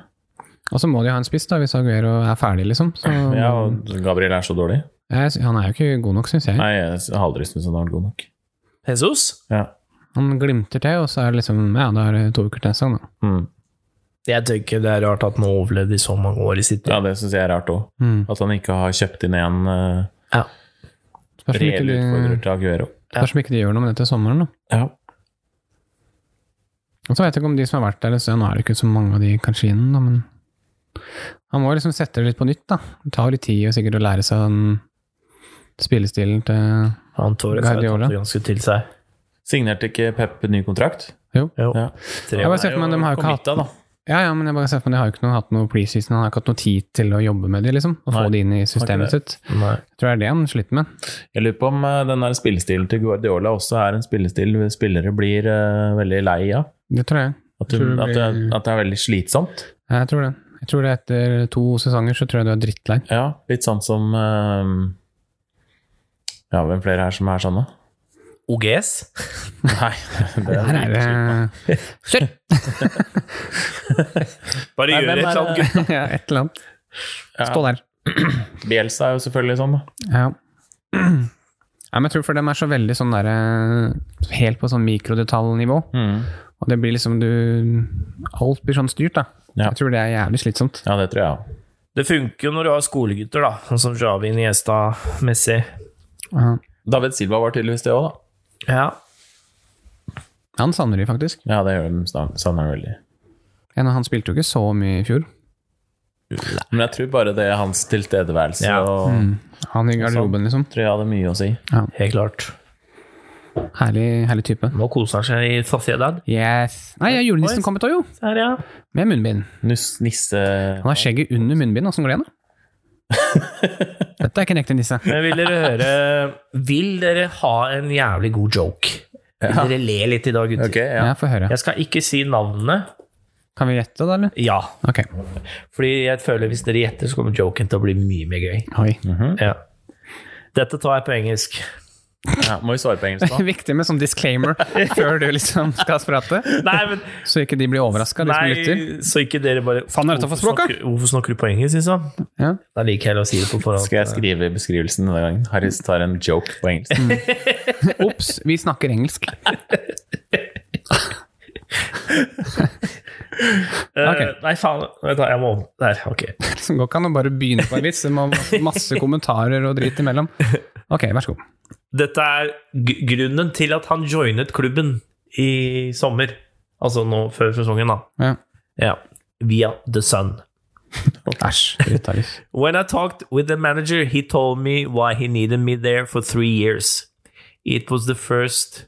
B: Og så må de ha en spiss, da, hvis Aguero er ferdig, liksom. Så,
A: Ja, og Gabriel er så dårlig.
B: jeg, sy- han er jo ikke god nok, syns jeg.
A: Nei, jeg har aldri syntes han har vært god nok.
C: Jesus?
A: Ja.
B: Han glimter til, og så er det liksom Ja, da er det to uker til neste gang, da.
A: Mm.
C: Jeg tenker det er rart at han har overlevd i så mange år i City.
A: ja, det syns jeg er rart òg.
B: Mm.
A: At han ikke har kjøpt inn en uh,
C: Ja.
B: Spørs om ikke
A: reell
B: de-
A: utfordrer til Aguero.
B: Spørs om ikke de gjør noe med det til sommeren, da.
A: Ja.
B: Og så vet jeg ikke om de som har vært der, så nå er det ikke så mange av de kanskje inn, da, men han må liksom sette det litt på nytt, da. Det tar jo litt tid og sikkert å lære seg den spillestilen til
C: Han Torres har jo
B: Guardiola.
C: tatt det ganske til seg.
A: Signerte ikke Pep ny kontrakt?
B: Jo.
C: Jo.
A: Ja.
C: Tre
B: Jeg
C: år.
B: bare ser for meg, de har jo ikke hatt
A: Committa, da.
B: Ja, ja, men jeg bare ser for meg, de har jo ikke noe, hatt noe preseason, han har ikke hatt noe tid til å jobbe med det, liksom. Å få
A: Nei,
B: det inn i systemet
A: har
B: sitt.
C: Nei.
B: Jeg tror det er det han sliter med.
A: Jeg lurer på om eh, den der spillestilen til Guardiola også er en spillestil spillere blir eh, veldig lei av.
B: Det tror jeg.
A: At, du,
B: Tror du
A: at, det,
B: blir-
A: at det er veldig slitsomt.
B: Jeg tror det. Jeg tror det etter to sesonger så tror jeg du er drittlei.
A: Ja, litt sånn som eh, Ja, hvem flere her som er sånne? *laughs*
C: OGS?
A: Nei, det er,
B: Her er det *laughs* Shit!
C: Bare
A: Nei, eh,
C: gjør
A: hvem er
C: et eller annet,
A: det?
C: gutt.
B: *laughs* ja, et eller annet. Stå der.
A: Bielsa er jo selvfølgelig sånn, da.
B: Ja. *clears throat* Nei, men jeg tror for dem er så veldig sånn derre Helt på sånn mikrodetaljnivå.
C: Mm.
B: Og det blir liksom du Alt blir sånn styrt, da.
A: Ja.
B: Jeg tror det er jævlig slitsomt.
A: Ja, det tror jeg òg.
C: Det funker jo når du har skolegutter, da. Sånn som Javi Niesta, Messi.
B: Ja.
A: David Silva var tydeligvis det òg, da.
C: Ja.
B: Han savner de faktisk.
A: Ja, det gjør de snak- savner de veldig.
B: Ja, nå, Han spilte jo ikke så mye i fjor.
A: Men jeg tror bare det er hans tilstedeværelse
C: Ja.
A: og
B: Mm. Han i garderoben, liksom.
A: tror jeg hadde mye å si.
C: Helt klart.
B: Herlig, herlig type.
C: Nå koser han seg i Sociedad.
B: Yes. Nei, ja, julenissen kom et år, jo!
C: Der, ja.
B: Med munnbind.
A: Nuss, nisse
B: Han har skjegget under munnbind. Åssen går det igjen, *laughs* da? Dette er ikke en ekte nisse.
C: Men vil dere høre Vil dere ha en jævlig god joke? Vil dere le litt i dag, gutter?
A: Ok, ja.
B: Ja, Få høre.
C: Jeg skal ikke si navnene.
B: Kan vi gjette, da, eller?
C: Ja.
B: Ok.
C: Fordi jeg føler hvis dere gjetter, så kommer joken til å bli mye mer gøy.
B: Oi.
C: Ja. Dette tar jeg på engelsk.
A: ja. Må vi svare på engelsk, da?
B: Viktig med sånn disclaimer før du liksom skal prate,
C: Nei,
B: *laughs*
C: men
B: så ikke de blir overraska, de som lytter.
C: Nei, så ikke dere bare
B: Faen, er dette for
C: Hvorfor
B: språk, da?
C: snakker- Hvorfor snakker du på engelsk, liksom?
B: Ja.
C: Da liker jeg å si det på forhånd.
A: Skal
B: eh,
A: jeg skrive i beskrivelsen denne gangen? Harris tar en joke på engelsk.
B: Mm. Ops, vi snakker engelsk.
C: Eh,
B: Ok.
C: Nei, faen. Vent da, jeg må Der, ok.
B: Det går ikke an å bare begynne på en vits, det må være masse kommentarer og drit imellom. Ok, vær så god.
C: Dette er g grunnen til at han joinet klubben i sommer. Altså nå før sesongen, da.
B: Ja.
C: Ja. Via The Sun.
B: Æsj. drittavis.
C: When I talked with the manager, he told me why he needed me there for three years. It was the first.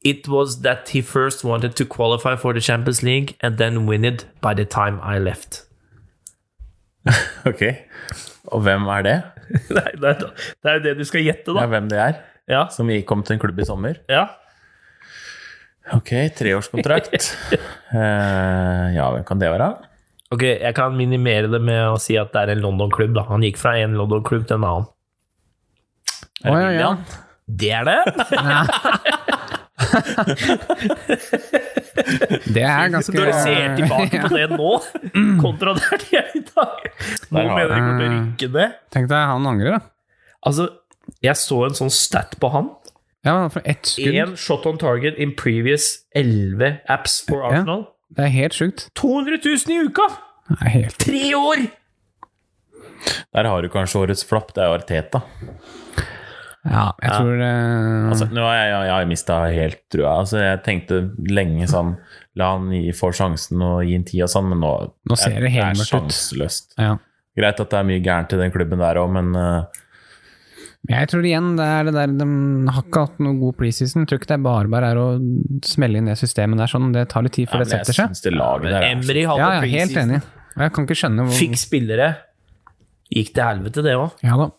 C: It was that he first wanted to qualify for the Champions League and then win it by the time I left.
A: Ok. Og hvem er det?
C: *laughs* Nei, det er- det er jo det du skal gjette,
A: Ja,
C: da.
A: hvem det er?
C: Ja.
A: Som gikk- kom til en klubb i sommer?
C: ja.
A: Ok,
B: *laughs*
A: treårskontrakt. Eh, ja, hvem kan det være?
C: Ok, jeg kan minimere det med å si at det er en London-klubb. da. Han gikk fra en London-klubb til en annen.
A: Er det
B: Å, ja, ja.
A: William?
C: Det er det!
B: Det er ganske
C: *laughs* Når du ser tilbake på det nå, kontra der de er i dag Nå
A: Der har
C: mener jeg kommer til å rykke ned.
B: Tenk deg, han angrer, da.
C: Altså, jeg så en sånn stat på han.
B: Ja, men for ett skudd.
C: Én shot on target in previous 11 apps for Arsenal.
B: Det er helt sjukt.
C: 200 000 i uka!
B: Det er helt
C: Tre år!
A: Der har du kanskje årets flapp, det er Arteta.
B: Ja, jeg tror eh,
A: Altså, nå har jeg, jeg, jeg har mista helt trua. Altså, jeg tenkte lenge sånn La han gi, få sjansen og gi en tid og sånn, men nå,
B: Nå ser det helt
A: er sånn.
B: mørkt ut.
A: sjanseløst.
B: ja.
A: Greit at det er mye gærent i den klubben der òg, men eh,
B: Jeg tror igjen det er det der De har ikke hatt noe god preseason. Jeg Tror ikke det er bare bare er å smelle inn det systemet der sånn. Det tar litt tid
A: ja,
B: før
A: men
B: det
A: jeg
B: setter seg.
A: syns det laget der er altså-
C: Emry hadde
B: Ja, ja, helt
C: preseason.
B: enig. Og jeg kan ikke skjønne hvor
C: Fikk spillere. Gikk til helvete, det òg.
B: Ja da.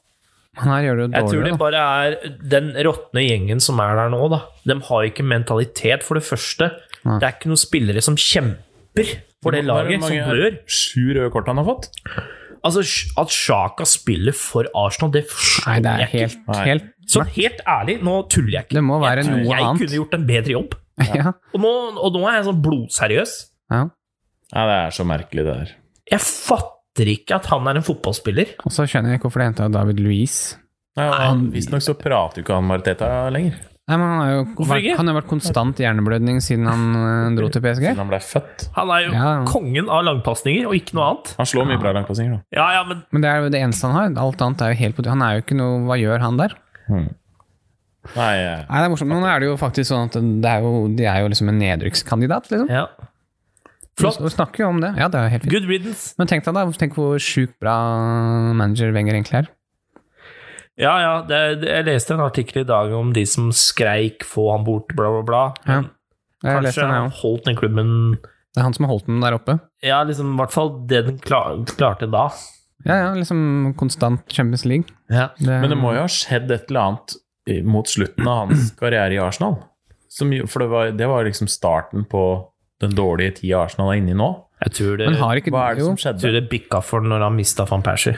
B: Han her gjør det jo
C: Jeg tror
B: dårligere.
C: det
B: da.
C: bare er den råtne gjengen som er der nå, da. De har ikke mentalitet, for det første. Det er ikke noen spillere som kjemper for det
A: Hvor
C: laget, som
A: mange-
C: blør.
A: Sju røde kort han har fått?
C: Altså, at Sjaka spiller for Arsenal, det forstår
B: Nei, det er
C: jeg ikke.
B: helt,
A: Nei.
B: helt
C: Sånn helt ærlig, nå tuller jeg ikke.
B: Det må være
C: jeg, tror
B: noe
C: jeg
B: annet.
C: kunne gjort en bedre jobb.
B: Ja.
C: Og nå, og nå er jeg sånn blodseriøs.
B: ja.
A: Nei, det er så merkelig, det der.
C: Jeg fatter ikke at han er en fotballspiller.
B: Og så skjønner jeg ikke hvorfor de henta David Louise.
A: Visstnok så prater jo ikke han med Arteta lenger,
B: Nei, men han har jo
C: Hvorfor
B: vært,
C: ikke?
B: han har vært konstant hjerneblødning siden han eh, dro til PSG.
A: siden han ble født.
C: Han er jo
B: Ja.
C: kongen av langpasninger og ikke noe annet.
A: Han slår mye bra langpassinger, da.
C: Ja, ja, men
B: Men det er jo det eneste han har. Alt annet er jo helt på Han er jo ikke noe Hva gjør han der?
A: Nei, eh,
B: Nei, det er morsomt. Men nå er det jo faktisk sånn at det er jo, de er jo liksom en nedrykkskandidat, liksom.
C: ja. Flott.
B: Du snakker jo om det. Ja, det er helt fint.
C: Good riddance.
B: Men tenk deg da, tenk hvor sjukt bra manager Wenger egentlig er.
C: Ja, ja, det, det, jeg leste en artikkel i dag om de som skreik 'få han bort', bla, bla, bla.
B: Ja. Jeg leste
C: Kanskje
B: den,
C: han
B: jeg også.
C: holdt den klubben
B: Det er han som har holdt den der oppe.
C: Ja, liksom, i hvert fall det den klar, klarte da.
B: Ja, ja, liksom konstant Champions League.
C: Ja.
A: Men det må jo ha skjedd et eller annet i- mot slutten av hans *clears throat* karriere i Arsenal. Som, jo- for det var, det var liksom starten på den dårlige tida Arsenal er inne i nå.
C: Jeg tror det,
B: Men har ikke
A: Hva er det
B: jo,
A: som
C: jeg tror
A: skjedde?
C: det bikka for når han mista van Persie.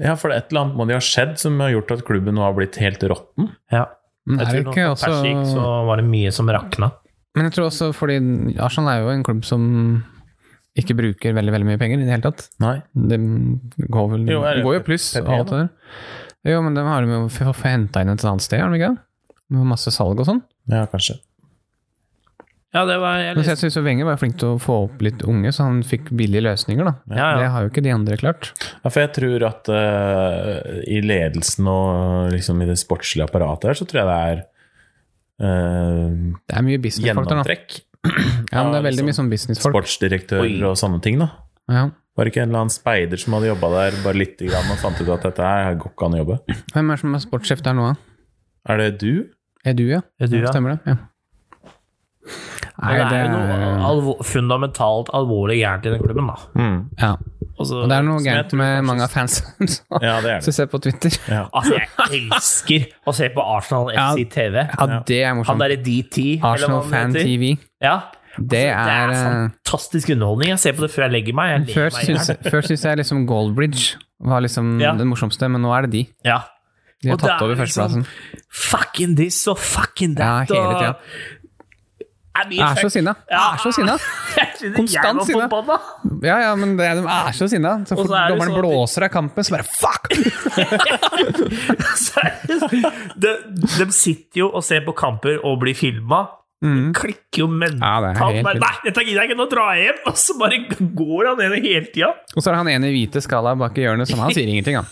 A: Ja, for Et eller annet må det ha skjedd som har gjort at klubben nå har blitt helt råtten.
C: Ja.
B: men er
C: Jeg
B: det
C: tror når
B: ikke
C: van
B: også
C: Persie gikk, så var det mye som rakna.
B: Men jeg tror også fordi Arsenal er jo en klubb som ikke bruker veldig veldig mye penger i det hele tatt.
A: Nei.
B: Det går vel
A: Jo, er det
B: det går jo pluss
A: PP
B: og alt det der. Jo, men de har de jo henta inn et annet sted, har de ikke? det? Med masse salg og sånn.
A: Ja, kanskje.
C: Ja, det var jeg
B: Men så
C: leste.
B: jeg synes jo Wenger var flink til å få opp litt unge, så han fikk billige løsninger, da.
C: Ja,
B: Det
C: ja.
B: har jo ikke de andre klart.
A: Ja, for jeg tror at eh, i ledelsen og liksom i det sportslige apparatet her, så tror jeg det er eh,
B: Det er mye businessfaktor, da.
A: gjennomtrekk.
B: Ja, men det
A: Ja,
B: er veldig
A: liksom
B: mye sånn businessfolk.
A: Sportsdirektører
C: Oi.
A: og sånne ting, da.
B: Ja.
A: Var det ikke en eller annen speider som hadde jobba der bare litt grann, og fant ut at dette her går ikke an å jobbe?
B: Hvem er det som er sportssjef der nå, da?
A: Er det du?
B: Er du, ja?
C: Er du, ja?
B: Stemmer det? Ja. Nei,
C: Men
B: det
C: det er jo noe
B: er
C: alvor, fundamentalt alvorlig gærent i den klubben, da.
B: Ja.
C: Altså,
B: Og det er noe
A: Som jeg
B: gærent
A: tror
B: med
A: kanskje-
B: mange av fansen *laughs* som
A: Ja, det er det.
B: som ser på Twitter.
A: Ja.
C: altså, jeg elsker å se på Arsenal
B: Ja.
C: FC TV.
B: Ja, det er
C: Han
B: morsomt.
C: derre DT, eller hva
B: Arsenal
C: han
B: Fan
C: heter.
B: TV.
C: Ja. Altså,
B: Det er eh,
C: fantastisk underholdning. Jeg ser på det før jeg legger meg. Jeg ler
B: Før
C: meg i hjel.
B: syns før syns jeg liksom Goldbridge var liksom
C: Ja.
B: den morsomste, men nå er det de.
C: Ja.
B: De har
C: Og det
B: tatt
C: er
B: over
C: liksom-
B: førsteplassen.
C: Fucking this og fucking
B: Ja,
C: that.
B: hele tida.
C: og- I mean,
B: Jeg er så
C: fuck-
B: sinna! Jeg
C: Ja.
B: er så sinna!
C: *laughs* Jeg synes jeg
B: Konstant
C: var
B: sinna.
C: forbanna.
B: Ja, ja, men det, de er så sinna. Så
C: Og så
B: fort
C: er
B: dommeren
C: det sånn at de-
B: blåser av kampen, så bare fuck!
C: Seriøst. de, de sitter jo og ser på kamper og blir filma.
B: Mm.
C: Klikker jo
B: Ja, det er
C: mentalt.
B: helt
C: Bare,
B: vilt.
C: Nei, dette gidder jeg ikke, nå drar jeg hjem! Og så bare går han ned hele tida.
B: Og så er det han ene i hvite skala bak i hjørnet, som han sier ingenting, han.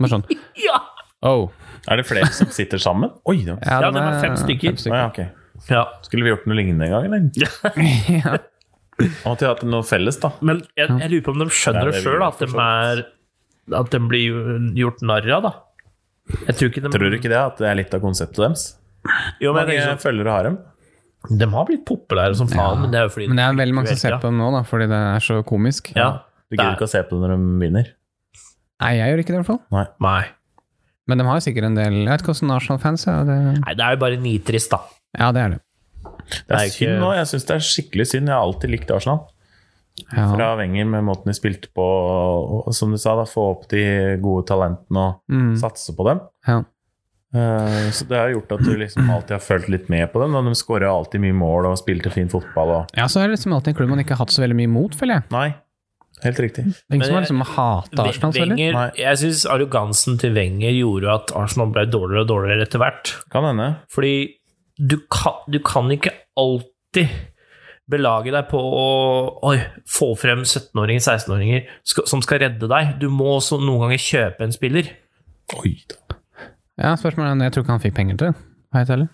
B: Bare sånn
C: Ja.
B: oh.
A: Er det flere som sitter
C: *laughs*
A: sammen? Oi! Det var...
B: Ja,
C: Ja,
B: den
C: det var
B: er-
C: fem stykker.
A: Å ja, ok.
C: ja.
A: Skulle vi gjort noe lignende en gang, eller?
B: *laughs* ja.
A: Måtte vi hatt noe felles, da.
C: Men jeg, jeg lurer på om de skjønner
A: Det er det
C: det
A: vi
C: sjøl,
A: gjør,
C: at, de
A: for så
C: er- at de blir jo gjort narr av, da. Jeg tror ikke de
A: Tror du ikke det? At det er litt av konseptet deres?
C: Jo,
A: Hvor
C: men jeg
A: mange
C: tenker
A: følgere har dem?
C: sånn, De har blitt populære som faen, men det er jo fordi
B: Men det er veldig mange som ser
C: hele
B: på dem nå, da, fordi det er så komisk.
C: tida. Ja.
A: Du gidder
C: Det er-
A: ikke å se på det når de vinner?
B: Nei, jeg gjør ikke det, i hvert fall.
A: Nei.
C: Nei.
B: Men de har sikkert en del Jeg vet ikke hvordan Arsenal-fans er. Det...
C: Nei, det er jo bare nitrist, da.
B: Ja, det er det.
A: Det
C: Nei,
A: er
C: ikke-
A: synd nå. Jeg syns det er skikkelig synd. Jeg har alltid likt Arsenal.
B: Ja.
A: Fra Wenger med måten de spilte på, og, og som du sa, da, få opp de gode talentene og
B: Mm.
A: satse på dem.
B: Ja.
A: Eh, Så det har gjort at du liksom alltid har følt litt med på dem. da. De skårer alltid mye mål og spilte fin fotball og
B: Ja, så er det liksom alltid en klubb man ikke har hatt så veldig mye imot, føler jeg.
A: Nei, helt riktig.
B: Det er ingen
C: Men
B: som har
C: jeg-
B: liksom hatet Arsenal så veldig.
C: Wenger,
A: Nei.
C: jeg syns arrogansen til Wenger gjorde at Arsenal ble dårligere og dårligere etter hvert.
A: Kan hende.
C: Fordi du kan, du kan ikke alltid belage deg på å oi, få frem 17-åringer, 16-åringer sk- som skal redde deg. Du må også noen ganger kjøpe en spiller.
A: Oi da.
B: Ja, spørsmålet er om jeg tror ikke han fikk penger til det. Hva heter det?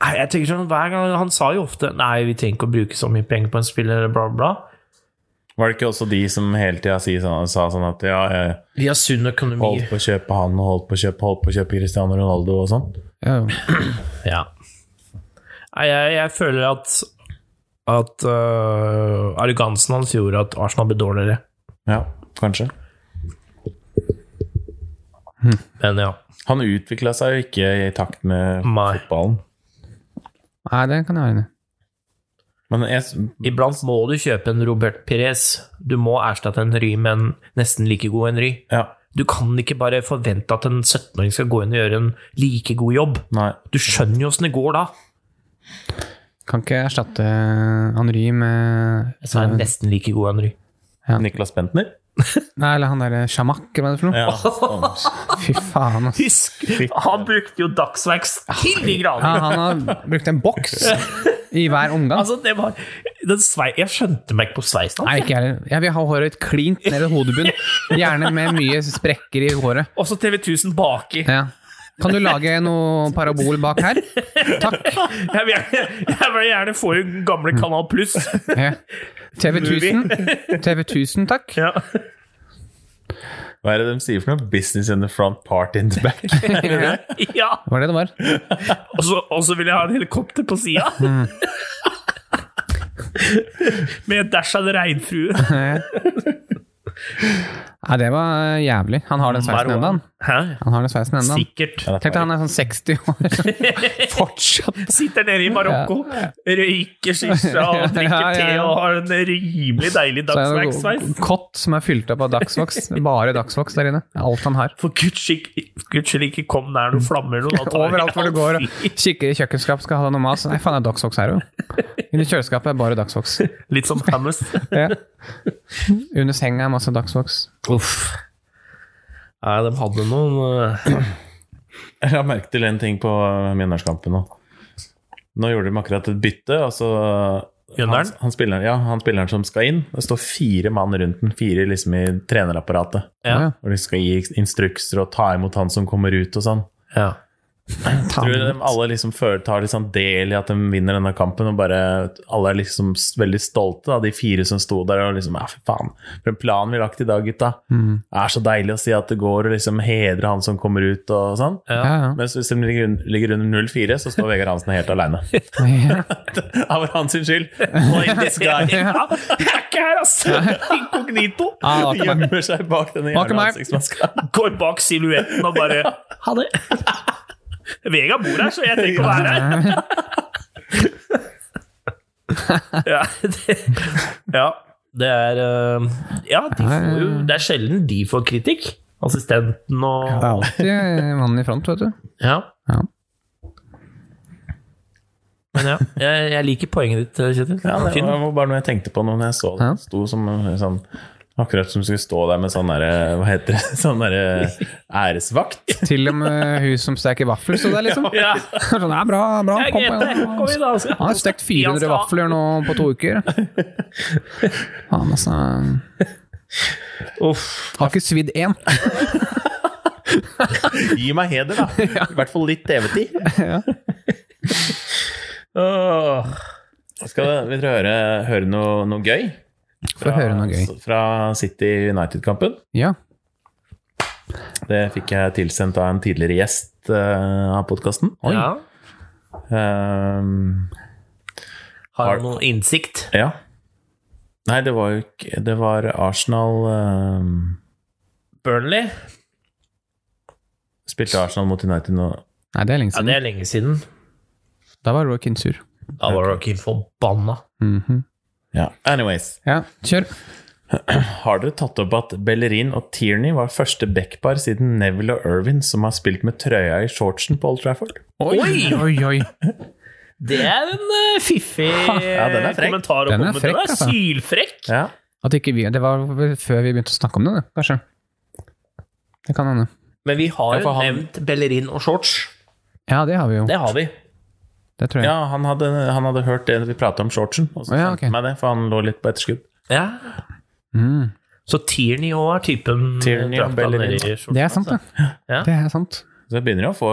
C: Nei, jeg tenker sånn, hver gang, Han sa jo ofte 'nei, vi trenger ikke å bruke så mye penger på en spiller', bla, bla. bla.
A: Var det ikke også de som hele tida si sånn, sa sånn at ja, jeg
C: Vi har sunn økonomi.
A: holdt på å kjøpe han og holdt på å kjøpe, holdt på å kjøpe Cristiano Ronaldo og sånn?
B: Ja,
C: Ja. Nei, jeg, jeg føler at at øh, arrogansen hans gjorde at Arsenal ble dårligere.
A: Ja, kanskje.
C: Men ja.
A: Han utvikla seg jo ikke i takt med
C: Nei.
A: fotballen.
B: Nei, det kan jeg være enig i.
A: Men jeg, s-
C: Iblant må du kjøpe en Robert Perez. Du må erstatte en Ry med en nesten like god en Ry.
A: ja,
C: Du kan ikke bare forvente at en 17-åring skal gå inn og gjøre en like god jobb.
A: nei.
C: Du skjønner jo åssen det går da.
B: Kan ikke erstatte Henry med
C: Jeg sa en nesten like god en Ry.
A: Niklas Bentner?
B: Nei, eller han derre Shamak, hva er det for noe?
A: Ja.
B: Fy faen, altså. ass.
C: Husk, han brukte jo Dagsverks til de grader!
B: Ja, han har brukt en boks i hver omgang.
C: Altså, det var den svei, Jeg skjønte meg ikke på sveisen hans.
B: Nei, ikke jeg heller. Jeg vil ha håret klint ned i hodebunnen. Gjerne med mye sprekker i håret.
C: Også TV 1000 baki.
B: Ja. Kan du lage noe parabol bak her? Takk.
C: Jeg vil gjerne, jeg vil gjerne få jo gamle Kanal Pluss.
B: Ja. TV 1000. TV 1000, takk.
C: Ja.
A: *laughs* Hva er det de sier for noe? 'Business in the front, part in the back'?
C: ja.
B: Var det det var?
C: Og så og så vil jeg ha en helikopter på sida.
B: Mm.
C: Med et dash av en regnfrue.
B: Nei, det var eh, jævlig. Han har den sveisen ennå, han.
C: Hæ?
B: Han har den sveisen ennå. han.
C: Sikkert.
B: Tenk deg han er sånn 60 år. Fortsatt.
C: Sitter nede i Marokko,
B: *laughs*
C: røyker shisha og drikker
B: Ja, ja,
C: te
B: ja.
C: og har en rimelig deilig
B: Så er det
C: dagsverksveis.
B: en kott som er fylt opp av dagsvoks. Bare dagsvoks der inne. Det er Alt han har.
C: For guds skyld guds skyld, ikke kom nær noen flammer. nå, da tar jeg
B: Overalt hvor du
C: alt
B: går og
C: fint.
B: kikker i kjøkkenskap, skal ha deg noe mas. Nei, faen, det er dagsvoks her òg. Inni kjøleskapet er bare dagsvoks.
C: Litt som Hammers.
B: Ja. Under senga er masse dagsvoks.
C: Uff. Nei, de hadde noen eh,
A: Jeg har merket til en ting på Mjøndalskampen nå. Nå gjorde de akkurat et bytte. Altså, han,
C: Mjøndalen?
A: han, spilleren, ja, han spilleren som skal inn. Det står fire mann rundt den, fire liksom i trenerapparatet.
C: Ja.
A: Og de skal gi instrukser og ta imot han som kommer ut og sånn.
C: ja.
B: Ta
A: Tror du
B: med.
A: de alle liksom føler, tar litt sånn del i at de vinner denne kampen, og bare alle er liksom s- veldig stolte av de fire som sto der og liksom Ja, fy faen, for en plan vi har lagt i dag, gutta.
B: Mm.
A: Det er så deilig å si at det går, og liksom hedre han som kommer ut og sånn.
B: Ja,
C: *laughs*
B: ja.
A: Mens hvis de ligger, un- ligger under 0-4, så står Vegard Hansen helt alene.
C: *laughs*
B: Ja.
A: *laughs* Det var hans sin skyld! Blame this guy.
C: Ja, Jeg er ikke her, ass! Inkognito.
B: Ah, det var ikke meg.
A: Gjemmer seg bak denne
B: Bak
A: jævla
B: meg.
A: ansiktsmaska.
C: Går bak silhuetten og bare Ha det. Vega bor her, så jeg trenger ikke å være her. Ja, det, ja, *laughs* det er eh, Ja, de får jo, det er sjelden de får kritikk. Assistenten
B: Det er
C: og
B: alltid mannen i front, vet du.
C: Ja.
B: Ja.
C: Men ja, jeg, jeg liker poenget ditt, eh, Kjetil.
A: Ja, det
C: Finn.
A: var var bare noe jeg tenkte på nå når jeg så det.
B: Ja.
A: Sto som eh, sånn Akkurat som skulle stå der med sånn derre Hva heter det? *laughs* Sånn derre æresvakt.
B: Til og med hun som steker vafler sto der, liksom.
C: *laughs* Ja.
B: Sånn, ja, bra, bra.
C: Ja,
B: Kom på
C: Grete,
B: igjen.
C: kom inn, da.
B: Han har stekt 400 vafler nå på to
C: *laughs*
B: uker. Faen, altså.
C: Uff.
B: Har ikke svidd én.
A: Gi meg heder,
B: *laughs*
A: da! I hvert fall litt TV-tid.
C: Åh.
A: Skal vi dere høre, høre noe, noe gøy?
B: Få høre noe
C: altså.
B: gøy.
A: Fra City United-kampen.
B: Ja.
A: Det fikk jeg tilsendt av en tidligere gjest eh, av podkasten.
C: Ja.
A: Ehm,
C: Har du noen innsikt?
A: ja. Nei, det var jo ikke Det var Arsenal ehm,
C: Burnley?
A: Spilte Arsenal mot United nå.
B: Nei, det er lenge
C: Ja, det
B: siden.
C: er lenge siden.
B: Da var Roy Kinsur.
C: Da var dere forbanna.
B: Mhm.
A: Ja. Anyways.
B: Ja, kjør.
A: Har dere tatt opp at Bellerin og Tierney var første backpar siden Neville og Irvin som har spilt med trøya i shortsen på Old Trafford?
B: Oi, oi, oi.
C: Det er en eh,
A: *laughs*
C: fiffig
A: ja, den er frekk.
C: kommentar å
B: Den er
C: komme med. Den
B: frekk,
C: er
B: altså.
C: sylfrekk!
A: Ja.
B: At ikke vi, det var vel før vi begynte å snakke om det, det, kanskje. Det kan hende.
C: Men vi har
A: Ja, for
C: jo
A: han-
C: nevnt Bellerin og shorts.
B: Ja, det har vi jo.
C: Det har vi.
B: Det tror jeg.
A: Ja, han hadde, han hadde hørt det vi prata om shortsen, og så
B: Å, ja,
A: sendte
B: ok.
A: meg det, for han lå litt på etterskudd.
C: Ja.
B: Mm.
C: Så Tierney òg er typen
A: Tierney og
C: drakta
A: Bellerin.
C: ned i shorts,
B: Det er sant,
C: altså.
B: det.
C: Ja.
B: Det er sant.
A: Så vi begynner, å få,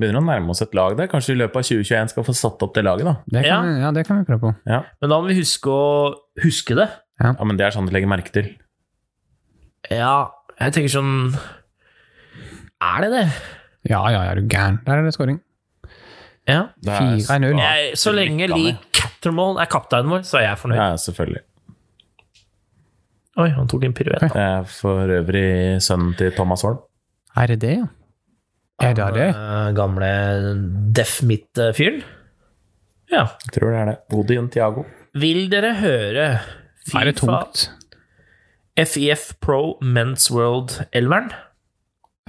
A: begynner å nærme oss et lag der. Kanskje vi i løpet av 2021 skal få satt opp det laget, da.
B: Det kan,
C: Ja.
B: Vi, ja, det kan vi prøve på.
A: Ja,
C: Men da må vi huske å huske det.
A: ja men det er sånn du legger merke til.
C: Ja, jeg tenker sånn Er det det?
B: Ja, ja, ja, er du gæren. Der er det scoring.
C: Ja.
A: Det er-
B: 4-0.
A: Ja,
C: Jeg, så lenge
A: lykkene.
C: Lee Cattermall er kapteinen vår, så er jeg fornøyd.
A: Ja, selvfølgelig.
C: Oi, han tok en piruett.
A: Det er for øvrig sønnen til Thomas Holm.
B: Er det det, ja? Er det det?
C: Eh, Gamle deaf mitt-fyren. Ja.
A: Jeg tror det er det. Odin Tiago.
C: Vil dere høre
B: Er det
C: FIFA
B: tungt?
C: FIF Pro Men's World-elveren?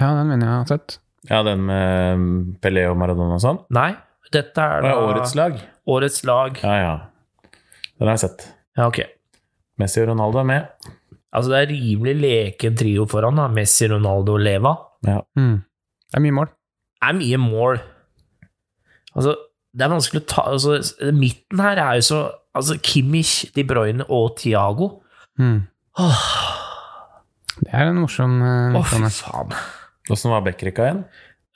B: Ja, den mener jeg har sett.
A: Ja, den med Pelé og Maradona og sånn.
C: Nei. Dette er
A: Det
C: da
A: er årets lag.
C: årets lag.
A: Ja, ja. Den har jeg sett.
C: Ja, ok.
A: Messi og Ronaldo er med.
C: Altså, det er rimelig leken trio foran, da. Messi, Ronaldo og Leva.
A: Ja.
B: Mm. Det er mye mål.
C: er mye mål. Altså, det er vanskelig å ta altså, Midten her er jo så altså, Kimmich, De Bruyne og Thiago.
B: Mm.
C: Åh,
B: Det er en morsom eh,
C: åh, fy
B: morsom-
C: faen.
A: Åssen var Bekkerika igjen?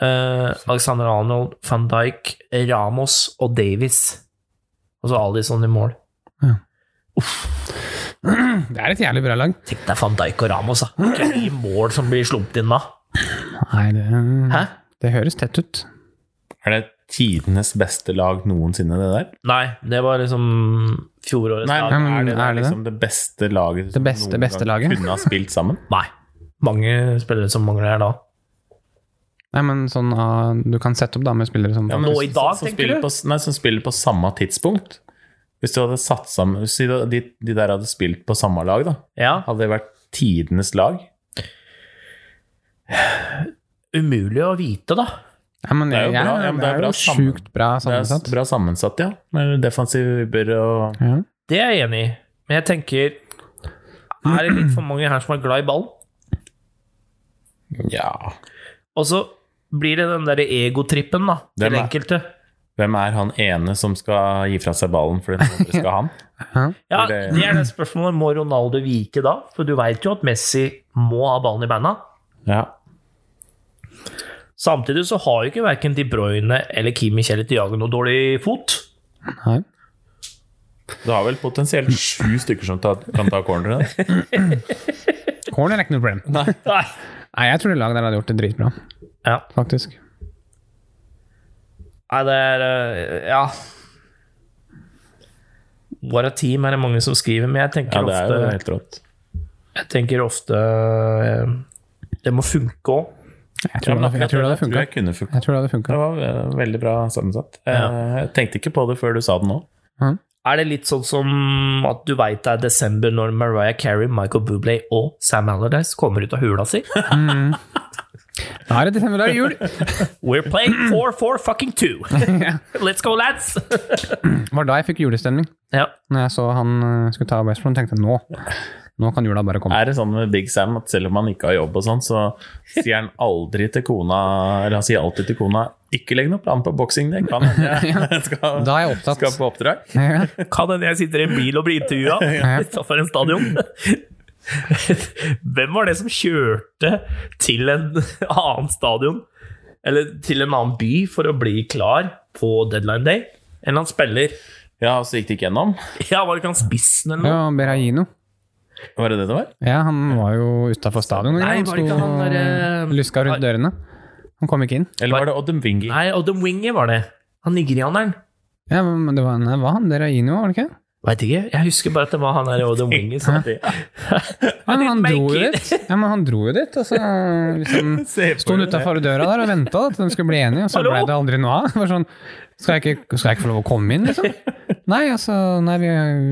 C: Eh, Alexander Arnold, van Dijk, Ramos og Davies. Og så Alison i mål.
B: *clears throat* Det er et jævlig bra lag.
C: Tenk deg van Dijk og Ramos, da. Det er ikke mye mål som blir slumpet inn da.
B: Nei, det,
C: Hæ?
B: det høres tett ut.
A: Er det tidenes beste lag noensinne, det der?
C: Nei, det var liksom fjorårets
A: Nei,
C: lag.
B: men
A: er det,
B: er det det?
A: liksom det beste laget som
B: beste,
A: noen
B: beste
A: gang
B: laget?
A: kunne ha spilt *laughs* sammen?
C: Nei. Mange spillere som mangler her da.
B: Nei, men sånn ah, Du kan sette opp da med spillere som
A: men
C: nå
A: som-
C: i dag,
A: som, som
C: tenker
A: spiller
C: du?
A: På, nei, som spiller på samme tidspunkt. Hvis du hadde satt sammen Hvis de, de, de der hadde spilt på samme lag, da,
C: Ja,
A: hadde det vært tidenes lag?
C: umulig å vite, da.
B: ja, men,
A: Det er jo
B: ja,
A: bra, ja, men det er bra
B: jo
A: sammen-
B: sjukt bra
A: Det er
B: sammensatt.
A: bra sammensatt, ja. Med defensiv vibber og
B: Ja.
C: Det er jeg enig i. Men jeg tenker Er det litt for mange her som er glad i ballen?
A: Ja
C: Og så blir det den derre egotrippen, da, til
A: Hvem er-
C: enkelte.
A: Hvem er han ene som skal gi fra seg ballen fordi den andre skal ha
B: *laughs*
A: han?
C: Ja,
A: Blir det-
C: det er det spørsmålet. Må Ronaldo vike da? For du veit jo at Messi må ha ballen i beina.
A: Ja.
C: Samtidig så har jo ikke verken De Bruyne eller Kimmich eller Thiago noe dårlig fot.
B: Nei.
A: Du har vel potensielt sju stykker som ta, kan ta
B: *laughs*
A: corneren.
B: Corner er ikke noe problem.
C: Nei.
B: Nei, jeg tror det laget der hadde gjort det dritbra,
C: Ja.
B: faktisk.
C: Nei, det er eh, Ja. What a team er det mange som skriver, men jeg tenker
A: Ja, det er jo
C: ofte
A: helt rått.
C: Jeg tenker ofte eh, Det må funke òg.
B: Jeg tror, det, hadde- jeg tror det hadde
A: tror
B: funka.
A: jeg kunne funka.
B: Jeg tror det hadde funka.
A: Det var eh, veldig bra sammensatt. Eh,
C: Ja.
A: Jeg tenkte ikke på det før du sa det nå.
C: Er det litt sånn som at du veit det er desember når Mariah Carey, Michael Bublé og Sam Allardyce kommer ut av hula si?
B: Da er det desember, da er det jul!
C: We're playing 4-4
A: *laughs*
C: fucking 2.
B: Ja.
C: Let's go, lads!
B: var da jeg fikk julestemning.
C: ja.
B: Når jeg så han eh, skulle ta West Brom, tenkte jeg nå Nå kan jula bare komme.
A: Er det sånn med Big Sam at selv om han ikke har jobb og sånn, så sier han aldri til kona Eller han sier alltid til kona 'Ikke legg noen plan på boksing, det kan
C: *laughs*
A: hende jeg skal,
B: Da er jeg opptatt.
A: skal på oppdrag'.
B: Ja.
C: Kan hende jeg sitter i en bil og
B: *laughs*
C: blir intervjua utafor en stadion. *laughs* Hvem var det som kjørte til en *laughs* annen stadion, eller til en annen by, for å bli klar på deadline day? En eller annen spiller.
A: Ja, og så gikk det ikke gjennom.
C: Ja, var det ikke han spissen eller noe?
B: Ja, Berahino.
A: Var det det det var?
B: Ja, han var jo utafor stadion.
C: Nei,
B: Han
C: var det ikke
B: sto
C: han der, eh,
B: og Luska rundt dørene. Han kom ikke inn.
A: Eller var det Oddem Wingi?
C: Nei, og The Winger var det. Han nigerianeren.
B: Ja, men det var, nei, var han Berahino, var det ikke?
C: Veit ikke. Jeg husker bare at det var han der og The Winger. som- *laughs*
B: Ja, men han
C: didn't
B: dro
C: make
B: jo
C: it.
B: dit. Ja, men han dro jo dit, og så liksom Sto han utafor døra der og venta at de skulle bli enige, og så
C: Hallo?
B: ble det aldri noe av. Det var Sånn, skal, jeg ikke, skal jeg ikke få lov å komme inn, liksom? Nei, altså, nei, vi,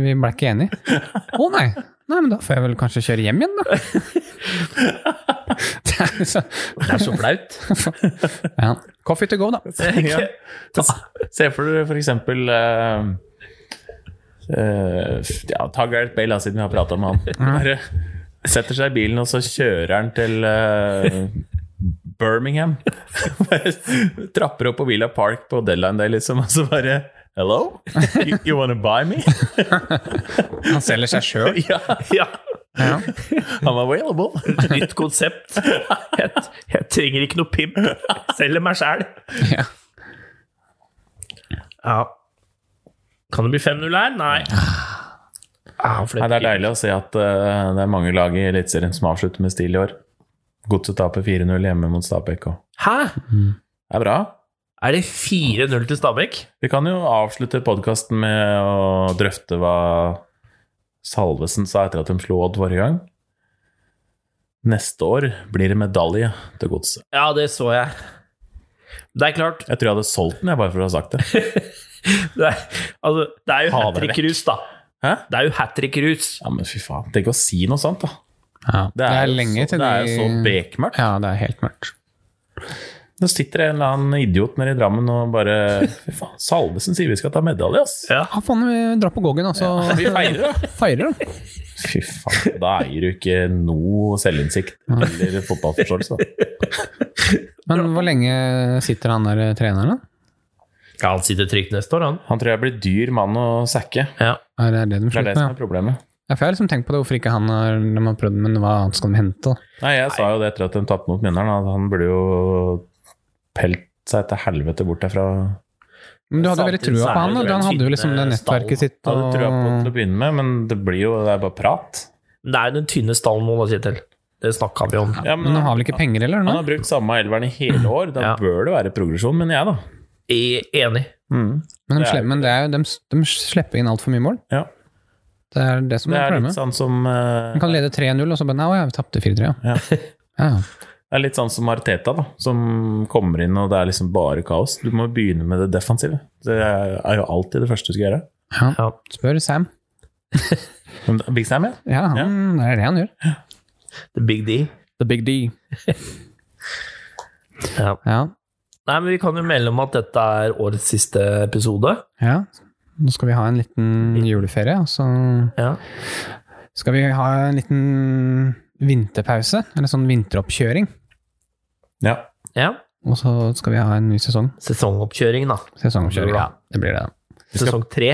B: vi ble ikke enige. Å nei. Nei, men da får jeg vel kanskje kjøre hjem igjen, da. *laughs* Det er så-
C: Det er så flaut. *laughs*
B: ja. Coffee to go, da.
A: *laughs* Ja. Se for dere for eksempel eh, eh, ja, Ta Gareth Bale, da, siden vi har prata med han. Bare setter seg i bilen, og så kjører han til eh, Birmingham. *laughs* Bare Trapper opp på Villa Park på deadline day, liksom, og så bare Hello? You, you wanna buy me?
B: Han selger seg sjøl.
A: ja,
C: ja.
B: Ja.
A: I'm available.
C: Nytt konsept. Jeg, jeg trenger ikke noe pimp. Selger meg sjæl.
B: Ja.
C: Ja. Kan det bli 5-0 her? Nei. Ah, Ja, for
A: Nei, det er deilig å se at eh, det er mange lag i Eliteserien som avslutter med stil i år. Godset taper 4-0 hjemme mot Stabæk òg.
C: Hæ?
A: Det er bra.
C: Er det 4-0 til Stabæk?
A: Vi kan jo avslutte podkasten med å drøfte hva Salvesen sa etter at de slo Odd forrige gang. Neste år blir det medalje til godset.
C: Ja, det så jeg. Det er klart
A: Jeg tror jeg hadde solgt den, jeg, bare for å ha sagt det.
C: Det er, altså, det er jo
A: Ha
C: hat
A: det vekk.
C: trick-rus, da.
A: Hæ?
C: Det er jo hat trick-rus.
A: Ja, men fy faen. Tenk å si noe sånt, da.
B: Ja. Det, er
A: jo
B: lenge
A: så,
B: til
A: Det er jo så
B: de
A: bekmørkt.
B: Ja, det er helt mørkt.
A: Nå sitter det en eller annen idiot nede i Drammen og bare Fy faen, Salvesen sier vi skal ta medalje, ass.
C: Ja.
B: Ja, faen, vi drar på Goggen, altså. og så
A: Vi feirer, da.
B: feirer, da.
A: Fy faen, da eier du ikke noe selvinnsikt eller fotballforståelse. da.
B: Men hvor lenge sitter han der eh, treneren, da?
C: Ja, han sitter trygt neste år, han.
A: Han tror jeg blir dyr mann å sacke.
C: Ja.
B: Er det det de
A: Det er
B: slutter
A: det som
B: med?
A: er problemet.
B: Ja, for jeg har liksom tenkt på det, hvorfor ikke han har, de har prøvd, men hva annet skal de hente? da?
A: Nei, Jeg sa jo det etter at de tapte mot Mjøndalen, at han burde jo pelt seg til helvete bort derfra.
B: Men du hadde veldig
C: Samtidig
B: trua
C: så er
B: på han, da.
C: det jo en
B: han hadde jo
C: tynne
B: liksom det
C: stall.
B: nettverket sitt.
A: Hadde trua på han til å begynne med, men det blir jo det er bare prat.
C: Men det er jo den tynne stallen nå, da, Kjetil. Det snakka vi om.
A: Ja,
B: Men
A: men
B: han
A: han
B: har vel ikke penger heller? nå?
A: har brukt samme elveren i hele år. Da
C: Ja.
A: bør det være progresjon, mener jeg, da.
C: E- Enig.
A: Mm.
B: Men de,
A: det er
B: slipper,
A: jo
B: men det er, jo- de, de slipper inn altfor mye mål.
A: Ja.
B: Det er det som
A: Det
B: er
A: er
B: problemet.
A: litt sånn som eh,
B: Man kan lede 3-0, og så bare Nei, å ja, vi tapte 4-3, ja.
A: Ja.
B: ja.
A: Det er litt sånn som Arteta, da, som kommer inn og det er liksom bare kaos. Du må begynne med det defensive. Det er jo alltid det første du skal gjøre.
B: ja.
C: Ja.
B: Spør Sam.
A: Men Big Sam, ja.
B: Ja, han, det er det han gjør.
C: The big D.
B: The big D.
C: *laughs* Ja.
B: Ja.
C: Nei, men vi kan jo melde om at dette er årets siste episode.
B: ja. Nå skal vi ha en liten juleferie, altså. og så
C: Ja.
B: skal vi ha en liten vinterpause. Eller sånn vinteroppkjøring.
A: ja.
C: ja.
B: Og så skal vi ha en ny sesong.
C: Sesongoppkjøring, da.
B: Sesongkjøring.
C: Ja,
B: det blir det.
C: Sesong tre.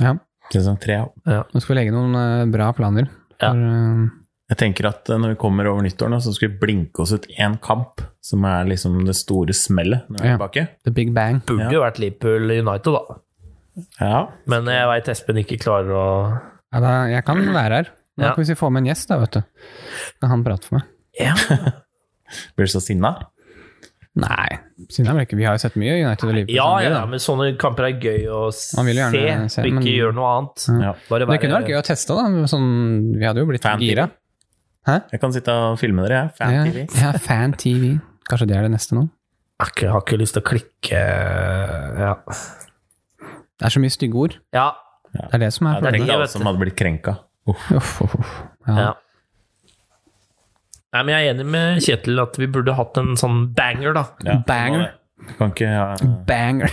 B: Ja.
A: Sesong tre. ja.
B: Nå skal vi legge noen eh, bra planer.
C: Ja.
B: For, eh,
A: Jeg tenker at eh, når vi kommer over nyttår, nå, så skal vi blinke oss ut én kamp, som er liksom det store smellet når vi er
B: Ja.
A: tilbake.
B: the big bang.
C: Burde jo vært Liverpool United, da.
A: Ja.
C: Men jeg veit Espen ikke klarer å
B: Ja, da, jeg kan være her. Nå
C: Ja.
B: kan vi si få med en gjest, da, vet du. Kan han prate for meg?
C: Ja.
A: Blir du så sinna?
B: Nei, siden han ikke Vi har jo sett mye United og Liverpool.
C: Ja,
B: sammen,
C: ja,
B: da.
C: men sånne kamper er gøy å
B: Man vil
C: se,
B: jo gjerne se,
C: og ikke
B: men-
C: gjøre noe annet.
B: Mm.
A: Ja.
C: Bare
B: Det kunne vært gøy å teste, da. med Sånn, vi hadde jo blitt
A: Fan
B: gira.
A: Jeg kan sitte og filme dere, jeg.
B: Ja,
A: Fan-TV.
B: *laughs* ja, fan-TV. Kanskje det er det neste nå.
C: Akkurat, jeg har ikke lyst til å klikke Ja.
B: Det er så mye stygge ord.
C: ja.
B: Det er det som
A: Ja, det
B: er
A: er
B: problemet.
A: ikke
C: Jeg
A: alle
C: vet
A: som
C: det.
A: hadde blitt krenka. Uff.
B: Uff, uff, uff. Ja.
C: ja. Nei, men jeg er enig med Kjetil at vi burde hatt en sånn banger, da.
A: Ja, det må
B: Banger.
A: det. Du kan ikke, ja, du
B: Banger.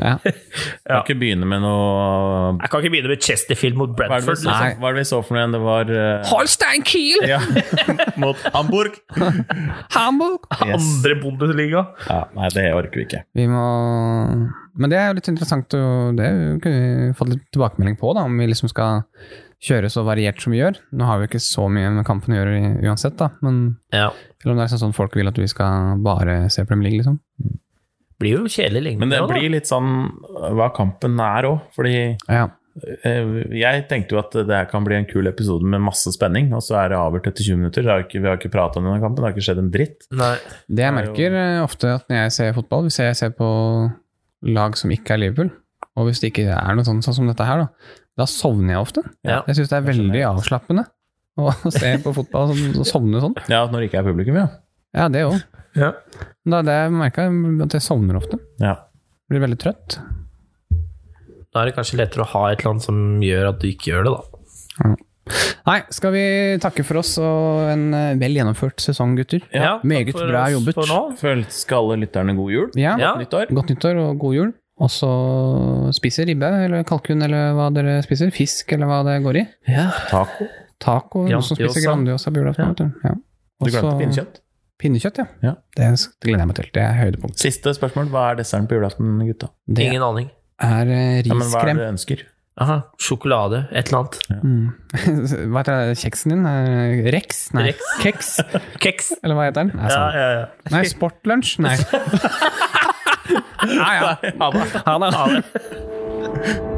B: ja.
A: kan ikke begynne med noe
C: Jeg kan ikke begynne med Chesterfield mot
A: Hva er det vi
C: Bradford.
A: så,
B: Nei.
A: hva er det vi så for noe igjen? Det var eh,
B: Holstein Kiel!
A: Ja,
B: *laughs*
A: mot Hamburg.
B: Hamburg!
C: liksom. Andre Bundesliga.
A: Ja, nei, det orker vi ikke.
B: Vi må Men det er jo litt interessant, og det kunne vi fått litt tilbakemelding på, da, om vi liksom skal kjøre så variert som vi gjør. Nå har vi jo ikke så mye med kampen å gjøre i- uansett, da, men
C: Ja.
B: eller om det er sånn, sånn folk vil at vi skal bare se Premier League, liksom.
C: Blir jo kjedelig lenge.
A: Men det
C: nå, da.
A: blir litt sånn hva kampen er òg, fordi
B: Ja.
A: eh, jeg tenkte jo at det her kan bli en kul episode med masse spenning, og så er det avgjort etter 20 minutter. Det har ikke, vi har ikke prata om denne kampen, det har ikke skjedd en dritt.
C: Nei.
B: Det jeg
A: Det er jo-
B: merker eh, ofte at når jeg ser fotball, hvis jeg ser på lag som ikke er Liverpool, og hvis det ikke er noe sånn, sånn som dette her, da, da sovner jeg ofte.
C: Ja.
B: Jeg syns det er veldig avslappende å *laughs* se på fotball sånn- og sovne sånn.
A: Ja, Når det ikke er publikum, ja.
B: Ja, det òg.
C: Ja.
B: Det er det jeg merker, at jeg sovner ofte.
A: ja.
B: Blir veldig trøtt.
C: Da er det kanskje lettere å ha et eller annet som gjør at du ikke gjør det, da.
B: Nei, skal vi takke for oss og en eh, vel gjennomført sesong, gutter?
C: Ja, takk
B: meget
C: for
B: bra
C: oss
B: jobbet.
C: for nå.
A: Føl- Skal alle lytterne god jul?
B: Ja.
C: Ja.
A: Nyttår?
B: Godt nyttår og god jul. Og så spise ribbe eller kalkun eller hva dere spiser. Fisk eller hva det går i.
A: Taco?
B: Taco. Noen som spiser
C: Grandiosa.
B: Grandiosa på julaften. vet du. Ja.
A: Du glemte
B: Også
A: pinnekjøtt?
B: Pinnekjøtt, ja.
A: Ja.
B: Det gleder jeg meg til. Det er høydepunkt.
A: Siste spørsmål. Hva er desserten på julaften, gutta?
B: Det
C: Ingen aning.
B: er eh,
A: Ja, men hva er det
B: riskrem.
A: dere ønsker?
C: Aha, sjokolade, et eller annet.
B: Mm. *laughs* Hva heter det? kjeksen din? Eh, Rex? Nei,
C: Rex.
B: keks?
C: Keks.
B: Eller hva heter den? Nei,
C: Ja,
B: sånn.
C: ja, ja.
B: Nei *laughs*
A: *laughs*
B: sportlunsj? Nei. ja, ja.
A: Ha det.
B: Ha det.